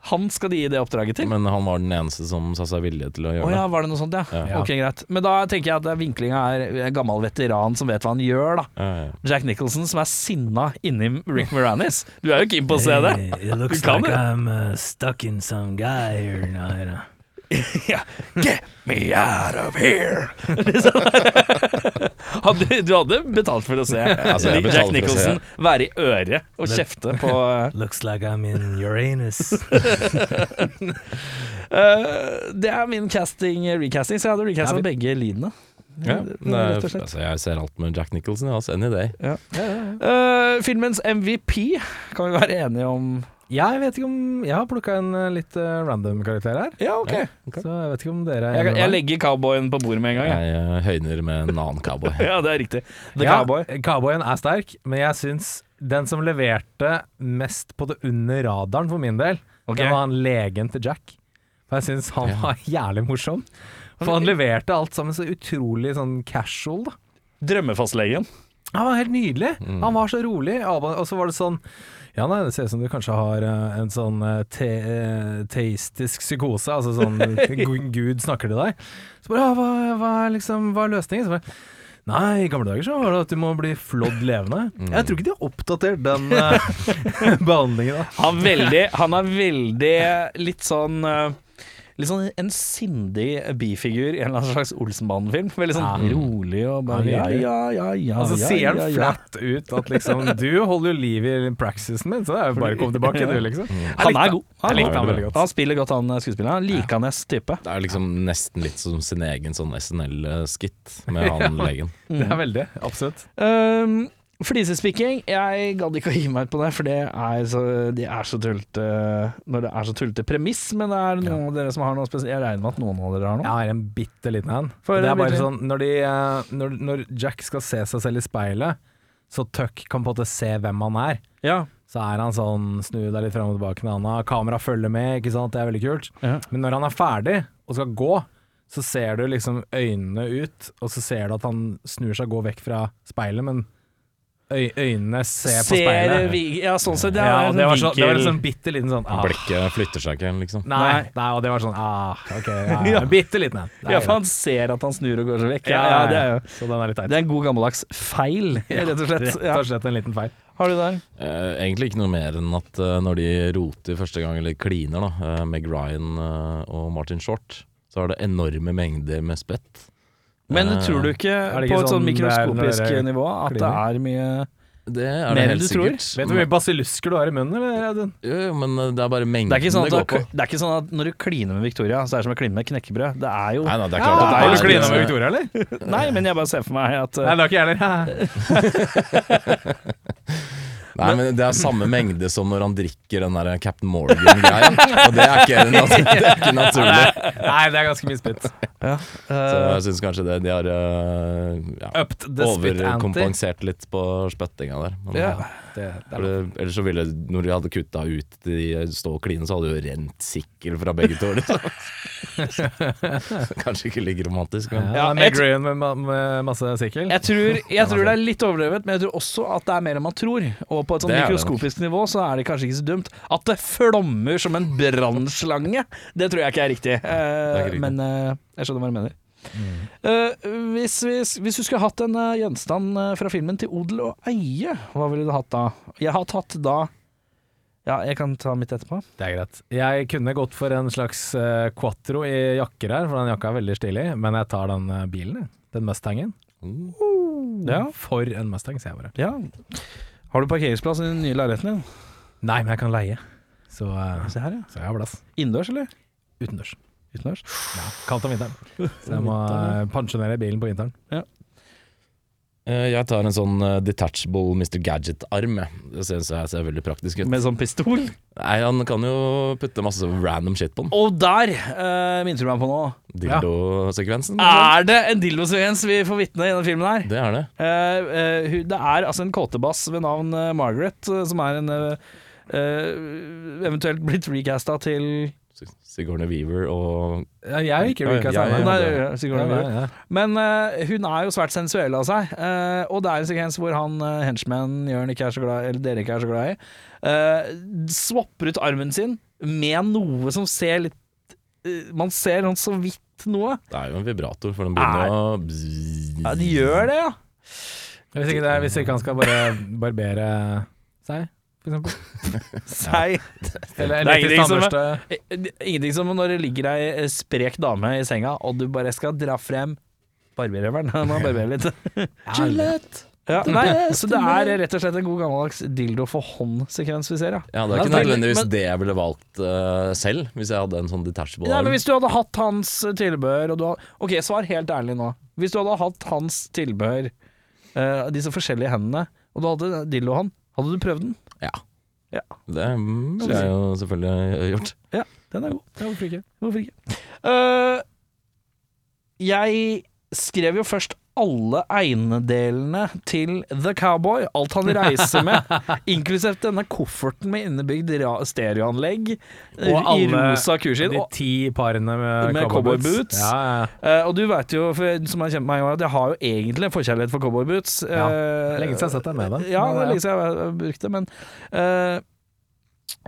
Speaker 1: Han skal de gi det oppdraget til.
Speaker 2: Men han var den eneste som sa seg villig til å
Speaker 1: Å
Speaker 2: gjøre
Speaker 1: ja, var det noe sånt, ja.
Speaker 2: Ja.
Speaker 1: Ok, greit. Men da tenker jeg at vinklinga er en gammel veteran som vet hva han gjør, da.
Speaker 2: det. Ja, ja.
Speaker 1: Jack Nicholson som er sinna inni Rick Moranis. Du er jo keen på å se det.
Speaker 5: It looks
Speaker 1: Du kan
Speaker 5: like
Speaker 1: det.
Speaker 5: I'm uh, stuck in some guy here. Nei, da.
Speaker 1: Get me out of here! Liksom. Hadde, du hadde betalt for å se
Speaker 2: altså, jeg betalte for å
Speaker 1: Jack
Speaker 2: se.
Speaker 1: Nicholson være i øret og kjefte på
Speaker 5: Looks like I'm in Uranus.
Speaker 1: Eh, Det er min casting, recasting, så jeg hadde recastet begge leadene.
Speaker 2: Ja, men det
Speaker 1: rett og
Speaker 2: er-
Speaker 1: slett.
Speaker 2: altså, jeg ser alt med Jack Nicholson, ja, altså, any day.
Speaker 1: Eh, filmens MVP kan vi være enige om.
Speaker 3: Jeg vet ikke om Jeg har plukka en eh, litt eh, random karakter her,
Speaker 1: Ja, ok.
Speaker 3: så jeg vet ikke om dere er
Speaker 1: Jeg,
Speaker 3: enig med
Speaker 1: jeg
Speaker 3: meg.
Speaker 1: legger cowboyen på bordet med en gang. jeg.
Speaker 2: Jeg eh, høyner med en annen cowboy.
Speaker 1: Ja, det er riktig. The
Speaker 3: ja,
Speaker 1: Cowboy.
Speaker 3: Cowboyen er sterk, men jeg syns den som leverte mest på det under radaren for min del,
Speaker 1: Ok.
Speaker 3: det var han legen til Jack. For jeg syns han
Speaker 2: Ja.
Speaker 3: var jævlig morsom. Og For han leverte alt sammen så utrolig sånn casual, da.
Speaker 1: Drømmefastlegen.
Speaker 3: Han var helt nydelig. Han var så rolig. Aba- Og så var det sånn Ja, nei, det ser ut som du kanskje har eh, en sånn eh, te eh, teistisk psykose. Altså sånn gu- Gud snakker til deg. Så bare ja, hva, hva, er liksom, hva er løsningen? Så bare Nei, i gamle dager så var det at du må bli flådd levende. Jeg tror ikke de har oppdatert den eh, behandlingen. da
Speaker 1: Han, veldig, han er veldig litt sånn eh, Litt sånn en sindig bifigur i en eller annen slags Olsenbanen-film. Veldig sånn rolig og bare
Speaker 3: Ja,
Speaker 1: ja,
Speaker 3: nydelig.
Speaker 1: ja, ja, ja.
Speaker 3: Og så
Speaker 1: ja,
Speaker 3: Altså, sier han
Speaker 1: ja, ja.
Speaker 3: flatt ut at liksom Du holder jo liv i praksisen min, så det er jo bare å komme tilbake, du, liksom. Jeg
Speaker 1: Han
Speaker 3: likte
Speaker 1: er god. Han,
Speaker 3: Jeg likte han
Speaker 1: han,
Speaker 3: veldig godt.
Speaker 1: spiller godt, han eh, skuespilleren. Han er Likandes type.
Speaker 2: Det er liksom nesten litt som sin egen sånn SNL-skitt med han legen.
Speaker 1: Mm.
Speaker 3: Det er veldig. Absolutt.
Speaker 1: Um, Flisespikking, jeg gadd ikke å gi meg ut på det, for det er så, de er så tullete Når det er så tullete premiss, men det er noen av dere som har noe spesielt. Jeg regner med at noen av dere har
Speaker 3: Jeg
Speaker 1: noe.
Speaker 3: har en bitte liten en.
Speaker 1: Få høre
Speaker 3: Det er
Speaker 1: en
Speaker 3: bare
Speaker 1: bitte
Speaker 3: sånn, når, de, eh, når, når Jack skal se seg selv i speilet, så Tuck kan på en måte se hvem han er.
Speaker 1: Ja.
Speaker 3: Så er han sånn snu deg litt fram og tilbake med handa, kamera følger med, ikke sant, det er veldig kult.
Speaker 1: Ja.
Speaker 3: Men når han er ferdig og skal gå, så ser du liksom øynene ut, og så ser du at han snur seg og går vekk fra speilet, men øy øynene ser på speilet.
Speaker 1: vi, ja, sånn sett. Det er
Speaker 3: Ja,
Speaker 1: en
Speaker 3: det var, så, det var en
Speaker 1: vinkel.
Speaker 3: sånn bitte liten sånn ah,
Speaker 2: Blikket flytter seg ikke, liksom.
Speaker 3: Nei, nei, og det var sånn ah, OK. Ja,
Speaker 1: Ja.
Speaker 3: En bitte liten en.
Speaker 1: Ja, for han ser at han snur og går seg vekk. Ja, ja, det er jo
Speaker 3: Så den er litt teit.
Speaker 1: det er en god gammeldags feil, rett og slett.
Speaker 3: Rett
Speaker 1: Ja.
Speaker 3: og slett en liten feil.
Speaker 1: Har du der?
Speaker 2: Eh, egentlig ikke noe mer enn at eh, når de roter første gang, eller kliner, da, eh, Meg Ryan eh, og Martin Short, så er det enorme mengder med spett.
Speaker 1: Men
Speaker 2: Eh,
Speaker 1: tror du ikke,
Speaker 3: det
Speaker 1: på
Speaker 3: ikke
Speaker 1: et sånn
Speaker 3: sånn det er når
Speaker 1: mikroskopisk
Speaker 3: dere
Speaker 1: nivå at det
Speaker 3: kliner?
Speaker 1: er mye
Speaker 2: Det er
Speaker 1: Mer
Speaker 2: det
Speaker 1: enn
Speaker 2: helt
Speaker 1: du tror?
Speaker 2: sikkert.
Speaker 3: Vet du hvor mye basilusker du har i munnen, eller? Audun?
Speaker 2: Jo, jo, men eh, det er bare mengden
Speaker 1: det er, ikke sånn at
Speaker 2: det går
Speaker 1: du,
Speaker 2: på.
Speaker 1: det er ikke sånn at når du kliner med Victoria, så er det som å kline med knekkebrød. Det er jo
Speaker 2: Nei, nei, det er
Speaker 3: Ja,
Speaker 2: klart
Speaker 1: det er
Speaker 3: har
Speaker 1: jo
Speaker 3: du
Speaker 2: at det
Speaker 3: klina
Speaker 1: klina
Speaker 3: med Victoria, eller? Nei,
Speaker 1: Nei, men jeg bare ser for meg at eh,
Speaker 3: det har ikke jeg heller.
Speaker 2: Nei, men det er samme mengde som når han drikker den der Captain Morgan-greia. Og det er ikke, det er ikke naturlig.
Speaker 3: Nei, det er ganske mye spytt.
Speaker 1: ja,
Speaker 2: Så
Speaker 1: eh,
Speaker 2: jeg syns kanskje det, de har eh, ja,
Speaker 3: Upped Oh, the spit ante.
Speaker 2: overkompensert litt på spyttinga der. Men,
Speaker 1: ja.
Speaker 3: Det, det
Speaker 2: For
Speaker 3: er
Speaker 2: det, ellers så ville Når de hadde kutta ut de eh, stå og kline, så hadde det jo rent sikkel fra begge to. Liksom. Kanskje ikke like romantisk, men
Speaker 3: ja,
Speaker 1: Ja,
Speaker 3: Meg
Speaker 1: jeg-
Speaker 3: Ryan med, ma- med masse sikkel.
Speaker 1: Jeg tror, jeg tror det er litt overdrevet, men jeg tror også at det er mer enn man tror. Og på et sånn
Speaker 2: Det er det
Speaker 1: mikroskopisk nivå så er det kanskje ikke så dumt. At det flommer som en brannslange, det tror jeg ikke er riktig. Eh,
Speaker 2: ikke riktig. Mm.
Speaker 1: Men eh, jeg skjønner hva du mener. Eh, hvis, hvis, hvis du skulle hatt en eh, gjenstand eh, fra filmen til odel og eie, hva ville du hatt da? Jeg har tatt da Ja, jeg kan ta mitt etterpå.
Speaker 3: Det er greit. Jeg kunne gått for en slags eh, quattro i jakker her, for den jakka er veldig stilig, men jeg tar den eh, bilen, jeg. Den Mustangen.
Speaker 1: Ja,
Speaker 3: For en Mustang, sier jeg bare.
Speaker 1: ja. Har du parkeringsplass i den nye leiligheten din?
Speaker 3: Nei, men jeg kan leie. Så, eh,
Speaker 1: Se her, ja.
Speaker 3: så jeg har plass.
Speaker 1: Innendørs, eller?
Speaker 3: Utendørs.
Speaker 1: Utendørs?
Speaker 3: Kaldt om vinteren. Så jeg må eh, pensjonere bilen på vinteren.
Speaker 2: Eh, Jeg tar en sånn eh, detachable Mr. Gadget-arm. jeg. Det syns jeg ser veldig praktisk ut.
Speaker 1: Med sånn pistol?
Speaker 2: Nei, Han kan jo putte masse random shit på den.
Speaker 1: Og der uh, minner du meg på nå.
Speaker 2: Dildosekvensen. kanskje?
Speaker 1: Er det en dildosvens vi får vitne i denne filmen her?
Speaker 2: Det er det.
Speaker 1: Eh, eh, hun- det er altså en kåtebass ved navn eh, Margaret, eh, som er en eh, eh, eventuelt blitt recasta til
Speaker 2: Sig- Sigourney Weaver og
Speaker 3: Ja, Jeg er ikke
Speaker 2: Ja,
Speaker 3: Rika
Speaker 2: ja, ja,
Speaker 3: Sandberg.
Speaker 1: Nei,
Speaker 2: det-
Speaker 1: ja, Sigourney
Speaker 3: Ja,
Speaker 1: Weaver.
Speaker 3: ja, ja.
Speaker 1: Men eh, hun er jo svært sensuell av seg, eh, og det er en sekvens hvor han uh, henchman Jørn ikke er så glad i, eller dere ikke er så glad i, eh, swapper ut armen sin med noe som ser litt eh, Man ser sånn så vidt noe.
Speaker 2: Det er jo en vibrator, for den begynner å
Speaker 1: Ja, de gjør det, ja.
Speaker 3: Hvis ikke, det, hvis ikke han skal bare barbere seg, for eksempel.
Speaker 1: Sei. Det er
Speaker 3: Eller elektrisk
Speaker 1: ingenting som-
Speaker 3: tannbørste.
Speaker 1: Eh, det- Ingenting som når det ligger ei eh, sprek dame i senga, og du bare skal dra frem barberhøvelen. Han må barbere litt. Gillette! Ja, nei, så det er rett og slett en god gammeldags dildo for hånd-sekvens vi ser, ja.
Speaker 2: Ja, Det er ikke
Speaker 1: Men-
Speaker 2: nødvendigvis
Speaker 1: men-
Speaker 2: det jeg ville valgt eh, selv, hvis jeg hadde en sånn detachable
Speaker 1: Nei,
Speaker 2: arm.
Speaker 1: men Hvis du hadde hatt hans tilbehør og du hadde, Ok, svar helt ærlig nå. Hvis du hadde hatt hans tilbehør, eh, disse forskjellige hendene, og du hadde dildoen, hadde du prøvd den?
Speaker 2: Ja.
Speaker 1: Ja.
Speaker 2: Det mm, ville jeg jo selvfølgelig gjort.
Speaker 1: Ja, den er god.
Speaker 3: Ja, hvorfor ikke?
Speaker 1: Hvorfor ikke? Eh, jeg skrev jo først alle eiendelene til The Cowboy, alt han reiser med, inklusiv denne kofferten med innebygd ra- stereoanlegg i rosa kursinn.
Speaker 3: de
Speaker 1: Og,
Speaker 3: ti parene med,
Speaker 1: Med cowboy
Speaker 3: cowboy
Speaker 1: boots.
Speaker 3: Ja, ja.
Speaker 1: eh, og du veit jo, for, som har kjent meg, at jeg har jo egentlig en forkjærlighet for cowboyboots.
Speaker 3: Ja,
Speaker 1: Eh,
Speaker 3: lenge siden jeg har sett deg med dem.
Speaker 1: Ja, det
Speaker 3: Men, eh,
Speaker 1: er
Speaker 3: ja.
Speaker 1: lenge siden jeg har brukt det, men eh,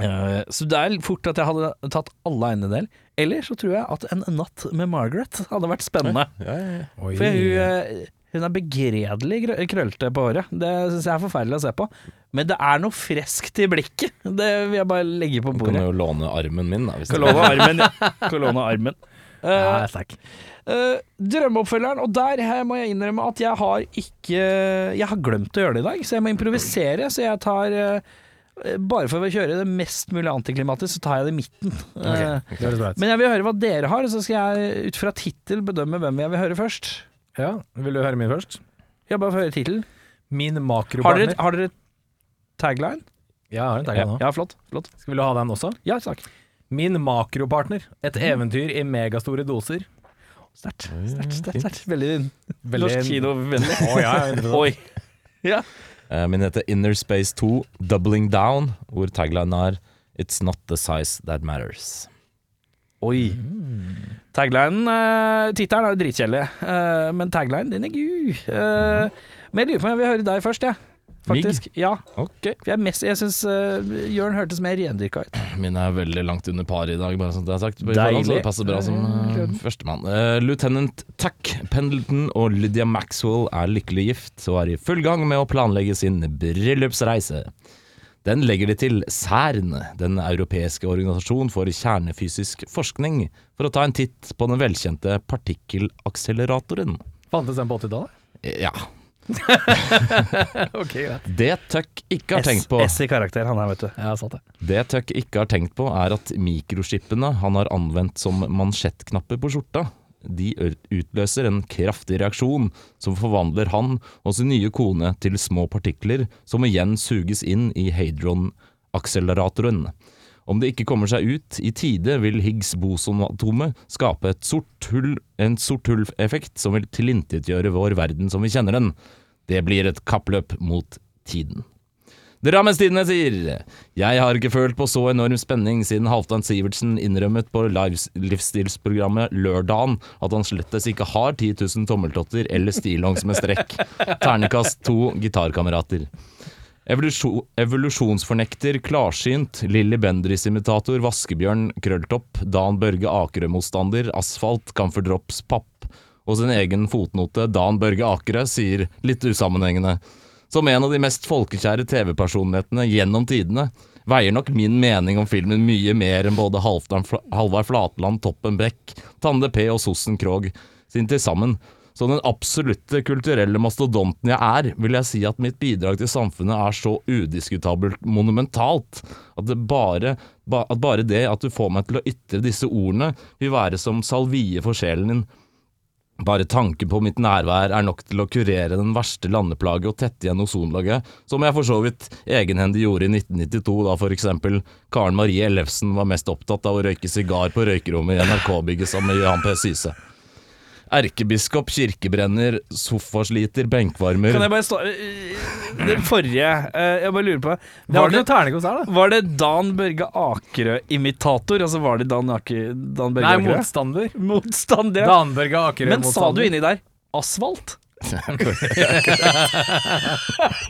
Speaker 1: eh, Så det er fort at jeg hadde tatt alle eiendeler. Eller så tror jeg at en natt med Margaret hadde vært spennende.
Speaker 2: Ja, ja, ja.
Speaker 3: Oi.
Speaker 1: For hun, eh, hun er begredelig grø- krøllete på håret. Det syns jeg er forferdelig å se på. Men det er noe freskt i blikket. Det vil jeg bare legge på
Speaker 2: Kan
Speaker 1: bordet.
Speaker 2: jo låne armen min, da. Hvis det-
Speaker 1: Kolone armen. ja. Kolone armen.
Speaker 3: Ja,
Speaker 1: Eh,
Speaker 3: sterk.
Speaker 1: eh, drømmeoppfølgeren, og der her må jeg innrømme at jeg har ikke Jeg har glemt å gjøre det i dag, så jeg må improvisere. Så jeg tar eh, Bare for å kjøre det mest mulig antiklimatisk, så tar jeg det i midten. Eh,
Speaker 3: Det høres bra ut.
Speaker 1: men jeg vil høre hva dere har, så skal jeg ut fra tittel bedømme hvem jeg vil høre først.
Speaker 3: Ja, vil du høre min først?
Speaker 1: Jeg bare får høre tittelen.
Speaker 3: Min
Speaker 1: Har
Speaker 3: makropartner.
Speaker 1: dere, har dere tagline?
Speaker 3: Ja, jeg har en tagline nå.
Speaker 1: Ja, flott. flott.
Speaker 3: Skal vil du ha den også?
Speaker 1: Ja, takk.
Speaker 3: Min makropartner. Et
Speaker 1: Mm.
Speaker 3: eventyr i megastore doser.
Speaker 1: Sterkt. sterkt, sterkt, sterkt. Veldig
Speaker 3: Veldig-
Speaker 1: norsk kinovennlig.
Speaker 3: Å ja, 100%.
Speaker 1: Oi. Ja.
Speaker 2: Eh, Min heter Inner Space 2, Doubling Down, hvor taglinen er It's not the size that matters.
Speaker 1: Oi. Taglinen eh, Tittelen er jo dritkjedelig, eh, men taglinen, den er gud. Eh, men jeg lurer på om jeg vil høre deg først, jeg. Faktisk. Ja.
Speaker 2: Ok.
Speaker 1: For jeg, er mest- jeg syns eh, Jørn hørtes mer rendyrka ut.
Speaker 2: Mine er veldig langt under paret i dag, bare sånn at det er sagt. på forhånd, Så
Speaker 1: Deilig. Mm.
Speaker 2: det passer bra som eh, førstemann. Eh, Lieutenant Tuck Pendleton og Lydia Maxwell er lykkelig gift og er i full gang med å planlegge sin bryllupsreise. Den legger de til CERN, den europeiske organisasjon for kjernefysisk forskning, for å ta en titt på den velkjente partikkelakseleratoren.
Speaker 3: Fantes den på 80-tallet?
Speaker 2: Ja.
Speaker 3: Ok, greit.
Speaker 2: Det Tuck ikke har tenkt på
Speaker 1: S i karakter, han her, vet du.
Speaker 3: Ja, sant det.
Speaker 2: Det Tuck ikke har tenkt på, er at mikroskippene han har anvendt som mansjettknapper på skjorta, de ø- utløser en kraftig reaksjon som forvandler han og sin nye kone til små partikler, som igjen suges inn i Hadron-akseleratoren. Om det ikke kommer seg ut i tide, vil Higgs boson-atomet skape et sort hull, en sort hull-effekt som vil tilintetgjøre vår verden som vi kjenner den. Det blir et kappløp mot tiden. Drammenstidene sier Jeg har ikke følt på så enorm spenning siden Halvdan Sivertsen innrømmet på livs livsstilsprogrammet Lørdagen at han slettes ikke har 10 000 tommeltotter eller stillongs med strekk. Ternekast to gitarkamerater. Evolusjon, evolusjonsfornekter, klarsynt, Lilly Bendriss-imitator, Vaskebjørn, Krølltopp, Dan Børge Akerø-motstander, Asfalt, Camphor Drops, Papp og sin egen fotnote, Dan Børge Akerø, sier litt usammenhengende. Som en av de mest folkekjære TV-personlighetene gjennom tidene, veier nok min mening om filmen mye mer enn både Halvdan Fla- Halvard Flatland, Toppen Beck, Tande P og Sossen Krog sin til sammen. Så den absolutte kulturelle mastodonten jeg er, vil jeg si at mitt bidrag til samfunnet er så udiskutabelt monumentalt at, det bare, ba, at bare det at du får meg til å ytre disse ordene, vil være som salvie for sjelen din. Bare tanken på mitt nærvær er nok til å kurere den verste landeplage og tette igjen ozonlaget, som jeg for så vidt egenhendig gjorde i 1992, da for eksempel Karen Marie Ellefsen var mest opptatt av å røyke sigar på røykerommet i NRK-bygget sammen med Johan P. Syse. Erkebiskop, kirkebrenner, sofasliter, benkvarmer
Speaker 1: Kan jeg bare stå Det forrige eh, Jeg bare lurer på
Speaker 3: Det var ikke noe ternekos her, da.
Speaker 1: Var det Dan Børge Akerø-imitator? Altså var det Dan, Ake, Dan Børge
Speaker 3: Nei,
Speaker 1: Akerø?
Speaker 3: motstander.
Speaker 1: Motstand, ja.
Speaker 3: Danberg og Akerø
Speaker 1: Men sa du
Speaker 3: motstander.
Speaker 1: inni der asfalt?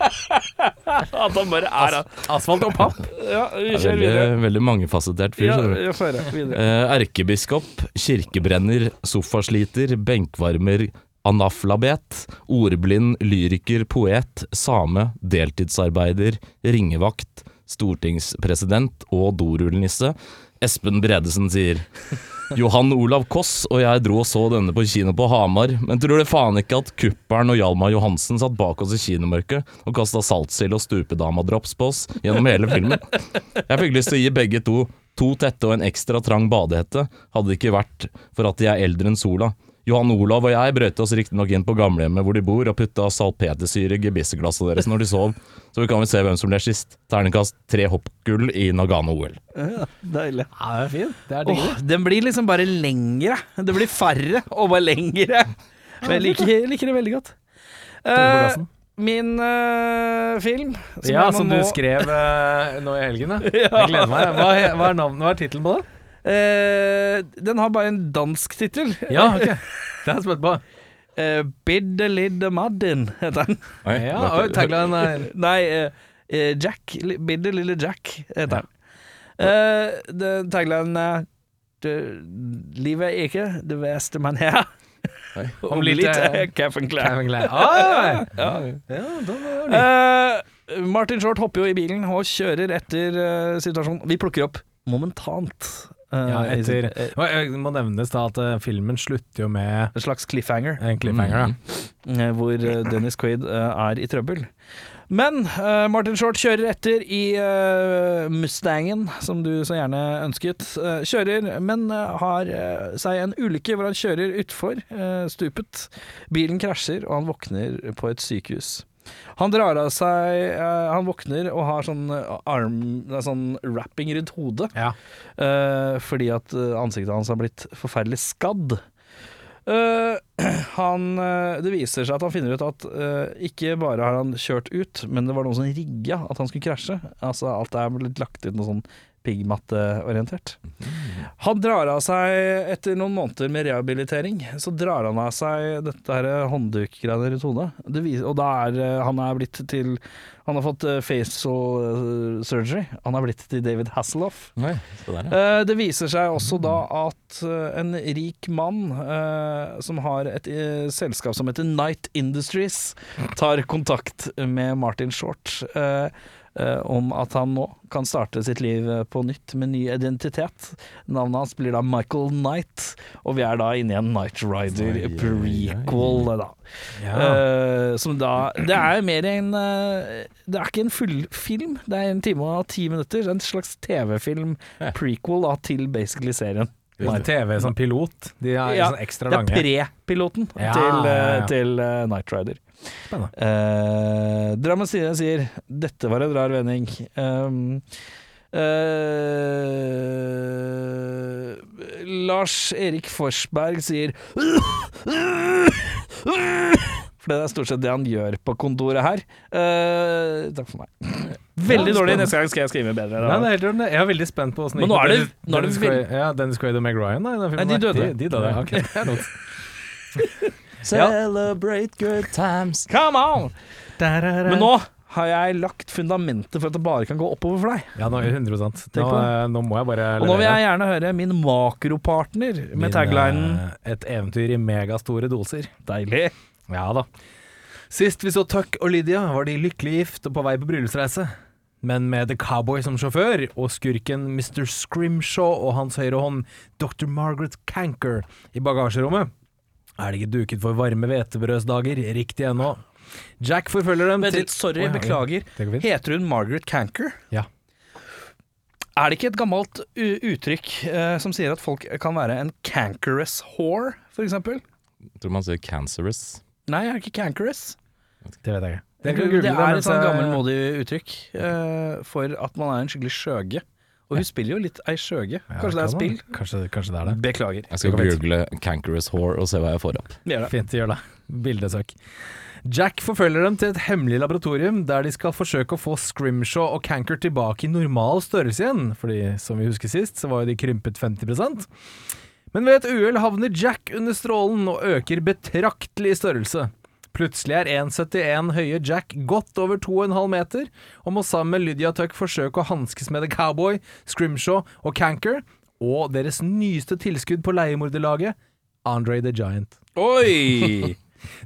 Speaker 1: At han bare er
Speaker 3: Asfalt og papp?
Speaker 1: Ja, vi
Speaker 2: Det er
Speaker 1: kjører videre.
Speaker 2: Veldig, veldig mangefasettert fyr.
Speaker 1: Ja,
Speaker 2: skjønner du.
Speaker 1: jeg får høre videre.
Speaker 2: Eh, Erkebiskop, kirkebrenner, sofasliter, benkvarmer, anaflabet, ordblind, lyriker, poet, same, deltidsarbeider, ringevakt, stortingspresident og dorullnisse. Espen Bredesen sier Johan Olav Koss og jeg dro og så denne på kino på Hamar, men tror det faen ikke at Kuppern og Hjalmar Johansen satt bak oss i kinomørket og kasta saltsild og stupedamadrops på oss gjennom hele filmen. Jeg fikk lyst til å gi begge to to tette og en ekstra trang badehette, hadde det ikke vært for at de er eldre enn sola. Johan Olav og jeg brøyte oss riktignok inn på gamlehjemmet hvor de bor, og putta salpetersyre i gebisseglasset deres når de sov, så vi kan vel se hvem som ble sist. Ternekast tre hoppgull i Nagano-OL.
Speaker 1: Deilig.
Speaker 3: Ja, det er fint. Det er
Speaker 1: Åh, den blir liksom bare lengre. Det blir færre og bare lengre. Men jeg liker, jeg liker det veldig godt. Eh,
Speaker 3: Torneplassen.
Speaker 1: min eh, film som
Speaker 3: ja,
Speaker 1: jeg må-
Speaker 3: som du
Speaker 1: må-
Speaker 3: skrev eh, nå i helgen, ja.
Speaker 1: Ja.
Speaker 3: Jeg gleder meg. Hva, he- hva er, navnet- hva er tittelen på det?
Speaker 1: Eh, den har bare en dansk tittel.
Speaker 3: Ja, ok. Det har jeg spurt på.
Speaker 1: Eh, Bidde lidde maddin, heter den.
Speaker 2: Oi,
Speaker 3: Ja,
Speaker 2: hva-
Speaker 3: og Ah, tagline er
Speaker 1: Nei, eh, eh, Jack. li- Bidde lille Jack, heter den. Eh, det- Taglinen er "Det- Livet er ikke det verste man har.
Speaker 2: Oi.
Speaker 1: Om
Speaker 3: litt
Speaker 1: litt
Speaker 3: er-
Speaker 1: er Kevin Clare.
Speaker 3: Kevin Klein. Ah, ja.
Speaker 5: Ja, da var
Speaker 1: Eh, Martin Short hopper jo i bilen og kjører etter eh, situasjonen. Vi plukker opp momentant. eh,
Speaker 3: ja,
Speaker 1: i sin-
Speaker 3: etter Og eh, Jeg må nevnes da at eh, filmen slutter jo med
Speaker 1: En slags cliffhanger.
Speaker 3: en cliffhanger,
Speaker 2: Mm.
Speaker 3: da.
Speaker 1: eh, hvor eh, Dennis Quaid eh, er i trøbbel. Men eh, Martin Short kjører etter i eh, Mustangen, som du så gjerne ønsket. Eh, kjører, men eh, har eh, seg en ulykke hvor han kjører utfor eh, stupet. Bilen krasjer, og han våkner på et sykehus. Han drar av seg eh, Han våkner og har sånn eh, arm nei, Sånn wrapping rundt hodet.
Speaker 3: Ja.
Speaker 1: eh, fordi at eh, ansiktet hans har blitt forferdelig skadd. Eh, han, eh, det viser seg at han finner ut at eh, ikke bare har han kjørt ut, men det var noen som rigga at han skulle krasje. Altså Alt er blitt lagt ut noe sånn piggmatteorientert. Han drar av seg, etter noen måneder med rehabilitering, så drar han av seg dette her hånddukgreiene rundt hodet. Det viser, og da er eh, han er blitt til Han har fått eh, facial eh, surgery. Han er blitt til David Hasselhoff.
Speaker 2: Oi, se der, ja.
Speaker 1: Eh, Det viser seg også da at eh, en rik mann eh, som har et eh, selskap som heter Night Industries, tar kontakt med Martin Short eh, eh, om at han nå kan starte sitt liv eh, på nytt med ny identitet. Navnet hans blir da Michael Knight, og vi er da inne i en Night Rider
Speaker 2: Oi, oi, oi.
Speaker 1: prequel. Da. Eh, som da Det er mer en eh, Det er ikke en fullfilm, det er en time og ti minutter. En slags TV-film, prequel da, til basically serien.
Speaker 3: Nei, TV som pilot. De er
Speaker 1: Ja,
Speaker 3: sånn ekstra
Speaker 1: Det er
Speaker 3: lange.
Speaker 1: pre-piloten
Speaker 3: Ja,
Speaker 1: til, uh,
Speaker 3: ja, ja.
Speaker 1: til eh, Knight Rider.
Speaker 3: Spennende.
Speaker 1: Eh, Drammen Stine sier 'dette var en rar vending'. Um, eh, Lars Erik Forsberg sier For det er stort sett det han gjør på kontoret her. Eh, takk for meg. Veldig
Speaker 3: Ja,
Speaker 1: dårlig.
Speaker 3: spennende.
Speaker 1: Neste gang skal jeg skrive bedre.
Speaker 3: Nei,
Speaker 1: Da.
Speaker 3: det er helt ordentlig. Jeg er veldig spent på åssen
Speaker 1: Men nå er det- nå er det
Speaker 3: Dennis,
Speaker 1: vel-
Speaker 3: Quaid- ja, Dennis Quaid og Meg Ryan, da, i den
Speaker 1: Nei,
Speaker 3: filmen.
Speaker 1: de
Speaker 3: der.
Speaker 1: døde.
Speaker 3: De, de døde. ja, ok. Flott.
Speaker 2: Celebrate good times.
Speaker 1: Come on! Men nå har jeg lagt fundamentet for at det bare kan gå oppover for deg.
Speaker 3: Ja, nå er det 100 nå,
Speaker 1: Tenk på
Speaker 3: eh, nå må jeg bare
Speaker 1: Og nå vil jeg gjerne høre min makropartner
Speaker 3: Min,
Speaker 1: med taglinen
Speaker 3: eh, Et eventyr i megastore doser.
Speaker 1: Deilig.
Speaker 3: Ja da. Sist vi så Tuck og Lydia, var de lykkelig gift og på vei på bryllupsreise. Men med The Cowboy som sjåfør, og skurken Mr. Scrimshaw og hans høyre hånd Dr. Margaret Canker i bagasjerommet, er det ikke duket for varme hvetebrødsdager riktig ennå. Jack forfølger dem
Speaker 1: Vent litt, sorry,
Speaker 3: Å, ja, ja.
Speaker 1: beklager.
Speaker 3: Det går fint.
Speaker 1: Heter hun Margaret Canker?
Speaker 3: Ja.
Speaker 1: Er det ikke et gammelt u- uttrykk eh, som sier at folk kan være en cankerous whore, for eksempel?
Speaker 2: Tror man sier cancerous.
Speaker 1: Nei, jeg er ikke cankerous.
Speaker 3: Det vet jeg ikke.
Speaker 1: Det, det er et sånn gammelmodig uttrykk eh, for at man er en skikkelig skjøge. Og hun spiller jo litt ei skjøge. Kanskje det er spill?
Speaker 3: Kanskje, kanskje det er det.
Speaker 1: Beklager.
Speaker 2: Jeg skal
Speaker 3: Det går fint.
Speaker 2: google 'cankerous whore' og se hva jeg får opp.
Speaker 1: Vi gjør det.
Speaker 3: Fint, gjør det. Bildesøk. Jack forfølger dem til et hemmelig laboratorium der de skal forsøke å få Scrimshaw og Canker tilbake i normal størrelse igjen, fordi som vi husker sist, så var jo de krympet 50 Men ved et uhell havner Jack under strålen og øker betraktelig i størrelse. Plutselig er 1,71 høye Jack godt over 2,5 meter, og må sammen med Lydia Tuck forsøke å hanskes med The Cowboy, Scrimshaw og Canker, og deres nyeste tilskudd på leiemorderlaget, Andre the Giant.
Speaker 1: Oi!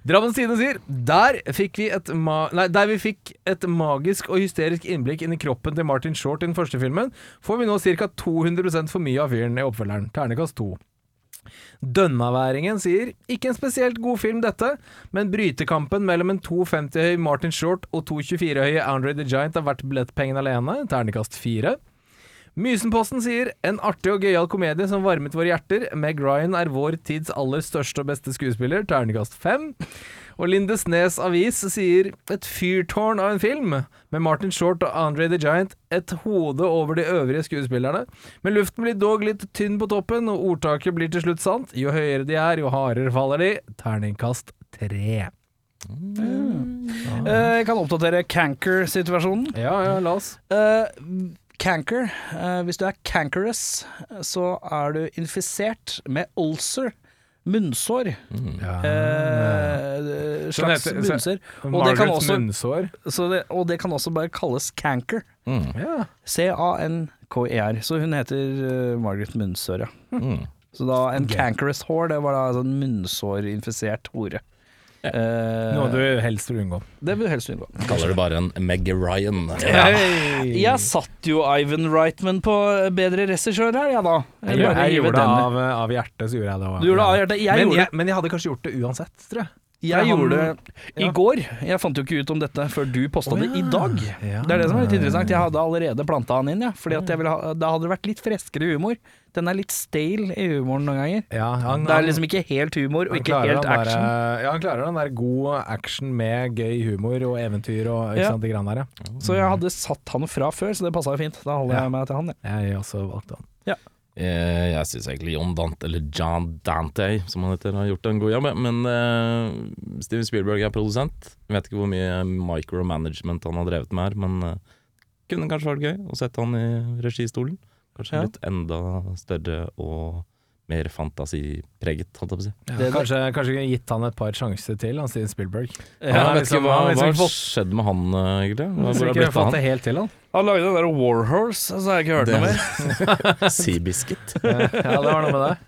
Speaker 3: Drammens Tidende sier der, fikk vi et ma nei, der vi fikk et magisk og hysterisk innblikk inn i kroppen til Martin Short i den første filmen, får vi nå ca. 200 for mye av fyren i oppfølgeren. Ternekast 2. Dønnaværingen sier ikke en spesielt god film dette, men brytekampen mellom en 2,50 høy Martin Short og 2,24 høye Andre the Giant er verdt billettpengene alene. Ternekast 4. Mysenposten sier en artig og gøyal komedie som varmet våre hjerter. Meg Ryan er vår tids aller største og beste skuespiller, terningkast fem. Og Lindesnes Avis sier et fyrtårn av en film, med Martin Short og Andre the Giant et hode over de øvrige skuespillerne. Men luften blir dog litt tynn på toppen, og ordtaket blir til slutt sant. Jo høyere de er, jo hardere faller de. Terningkast tre.
Speaker 1: Eh, Jeg kan oppdatere canker-situasjonen.
Speaker 3: Ja, ja, la oss.
Speaker 1: Eh, canker. eh, hvis du er cankerous, så er du infisert med ulcer, munnsår.
Speaker 3: Mm.
Speaker 1: Eh, slags
Speaker 3: heter- så-
Speaker 1: munnsår. Og det, kan
Speaker 3: Margarets
Speaker 1: også,
Speaker 3: munnsår.
Speaker 1: så det, og det kan også bare kalles canker.
Speaker 2: Mm,
Speaker 3: Ja.
Speaker 1: C-A-N-K-E-R. E Så hun heter eh, Margaret Munnsår, ja.
Speaker 2: mm.
Speaker 1: Så da en cankerous whore, det var da en sånn munnsårinfisert hore. Eh,
Speaker 3: Noe du helst vil unngå.
Speaker 1: Det vil du helst unngå.
Speaker 2: Kaller det bare en Meg Ryan.
Speaker 3: Hei!
Speaker 1: Jeg satt jo Ivan Reitman på eh, bedre regissør her, jeg da.
Speaker 3: Jeg, gjorde- jeg
Speaker 1: hiver
Speaker 3: gjorde det
Speaker 1: den.
Speaker 3: av, eh, av hjertet, så gjorde jeg det. også.
Speaker 1: Du gjorde det av hjertet. Jeg
Speaker 3: men,
Speaker 1: gjorde
Speaker 3: jeg, men jeg hadde kanskje gjort det uansett, tror jeg.
Speaker 1: Jeg
Speaker 3: han-
Speaker 1: gjorde det i
Speaker 3: ja.
Speaker 1: går. Jeg fant jo ikke ut om dette før du posta det i dag. Det er det som er litt interessant. Jeg hadde allerede planta han inn, ja, fordi at jeg ville ha, da hadde det vært litt freskere humor. Den er litt stale i humoren noen ganger.
Speaker 3: Ja, han,
Speaker 1: Det er liksom ikke helt humor og
Speaker 3: han
Speaker 1: ikke
Speaker 3: klarer
Speaker 1: helt
Speaker 3: den der- eh,
Speaker 1: action.
Speaker 3: ja, han klarer den der god action med gøy humor og eventyr og ikke
Speaker 1: Ja.
Speaker 3: sant, de greiene der, ja.
Speaker 1: Så jeg hadde satt han fra før, så det passa jo fint. Da holder
Speaker 3: Ja.
Speaker 1: jeg meg til han, jeg.
Speaker 3: Jeg også valgte han.
Speaker 2: Eh, Jeg syns egentlig John Dante, eller John Dante, som han heter, har gjort en god jobb. ja. Men eh, Steven Spielberg er produsent. Jeg vet ikke hvor mye micromanagement han har drevet med her, men eh, kunne kanskje vært gøy å sette han i registolen. Kanskje
Speaker 1: Ja.
Speaker 2: litt enda større og mer fantasipreget, holdt jeg på å si.
Speaker 1: Det-
Speaker 3: Kanskje, kanskje kunne gitt han et par sjanser til, han Steven Spielberg.
Speaker 2: Ja,
Speaker 3: Han
Speaker 2: jeg
Speaker 3: er
Speaker 2: vet ikke
Speaker 3: liksom-
Speaker 2: hva,
Speaker 3: han er liksom
Speaker 2: hva
Speaker 3: fått-
Speaker 2: skjedde med han, eh, egentlig? Hva, hvor
Speaker 3: Hvis vi
Speaker 2: er
Speaker 3: ikke
Speaker 2: det blitt
Speaker 3: fått
Speaker 2: av
Speaker 3: det helt til han.
Speaker 1: Han lagde den derre Warhorse, så har jeg ikke hørt noe mer.
Speaker 2: han? Seabiscuit.
Speaker 3: Ja, det var noe med det.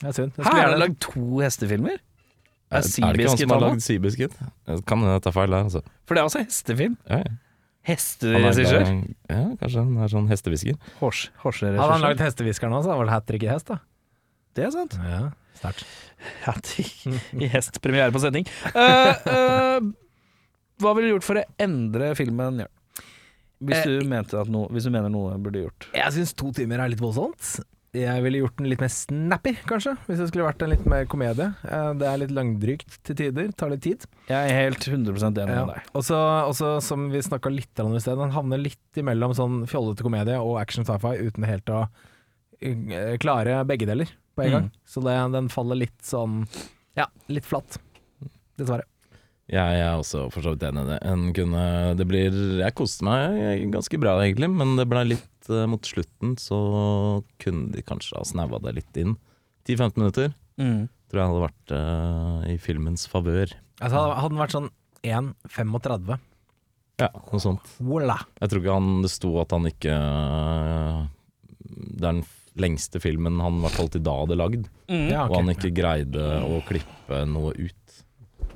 Speaker 3: Det er synd. Jeg
Speaker 1: Her
Speaker 3: skulle
Speaker 1: er det
Speaker 3: gjerne-
Speaker 1: lagd to hestefilmer.
Speaker 2: Er,
Speaker 1: Er
Speaker 2: er det ikke han
Speaker 1: Seabiscuit
Speaker 2: som har
Speaker 1: han da?
Speaker 2: lagd Seabiscuit? Jeg Kan hende jeg tar feil der, altså.
Speaker 1: For det er også hestefilm.
Speaker 2: Ja, ja. Han er glad
Speaker 1: Hesteregissør.
Speaker 2: i- ja, kanskje han er sånn hestehvisker.
Speaker 1: Hors-
Speaker 3: Hadde han
Speaker 1: Horseregissør.
Speaker 3: lagd hestehviskeren også, hadde det hat trick i hest, da.
Speaker 1: Det er sant.
Speaker 3: Ja, sterkt.
Speaker 1: Ja, til- I hestpremiere på sending. Eh, eh, hva ville du gjort for å endre filmen? Jørn? Hvis du, mente at noe, hvis du mener noe burde gjort.
Speaker 3: Jeg syns to timer er litt voldsomt. Jeg ville gjort den litt mer snappy, kanskje. Hvis det skulle vært en litt mer komedie. Eh, Det er litt langdrygt til tider, tar litt tid.
Speaker 1: Jeg er helt 100 enig
Speaker 3: Ja.
Speaker 1: med deg.
Speaker 3: Og så- og så, som vi snakka litt om i sted, den havner litt imellom sånn fjollete komedie og action sci-fi uten helt å eh, klare begge deler på
Speaker 1: Mm.
Speaker 3: en gang. Så det, den faller litt sånn Ja, litt flatt. Dessverre.
Speaker 2: Jeg er også for så vidt enig i det. En kunne, det blir, jeg koste meg ganske bra egentlig, men det ble litt eh, mot slutten, så kunne de kanskje ha snaua det litt inn. 10-15 minutter
Speaker 1: Mm.
Speaker 2: tror jeg hadde vært eh, i filmens favør.
Speaker 3: Altså, hadde- hadde den vært sånn 1,35
Speaker 2: Ja, noe sånt.
Speaker 3: Voilà.
Speaker 2: Jeg tror ikke han, det sto at han ikke eh, Det er den lengste filmen han i hvert fall til da hadde lagd,
Speaker 3: Ja, ok.
Speaker 2: og han ikke greide å klippe noe ut.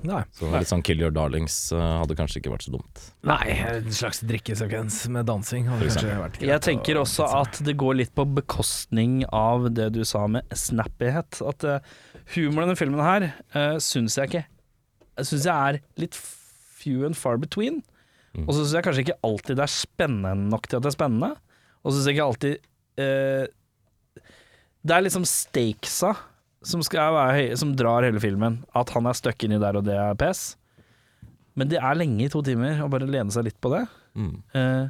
Speaker 3: Nei.
Speaker 2: Så litt sånn Kill Your Darlings eh, hadde kanskje ikke vært så dumt.
Speaker 3: Nei, en slags drikkesekvens med dansing hadde kanskje vært greit.
Speaker 1: Jeg tenker også at det går litt på bekostning av det du sa med snappyhet. At eh, humoren i denne filmen her uh, syns jeg ikke Jeg syns jeg er litt few and far between. Og så syns jeg kanskje ikke alltid det er spennende nok til at det er spennende. Og så syns jeg ikke alltid eh, Det er liksom stakesa som, skal være høye, som drar hele filmen. At han er stuck inni der, og det er pes. Men det er lenge i to timer å bare lene seg litt på det.
Speaker 2: Mm.
Speaker 1: Eh,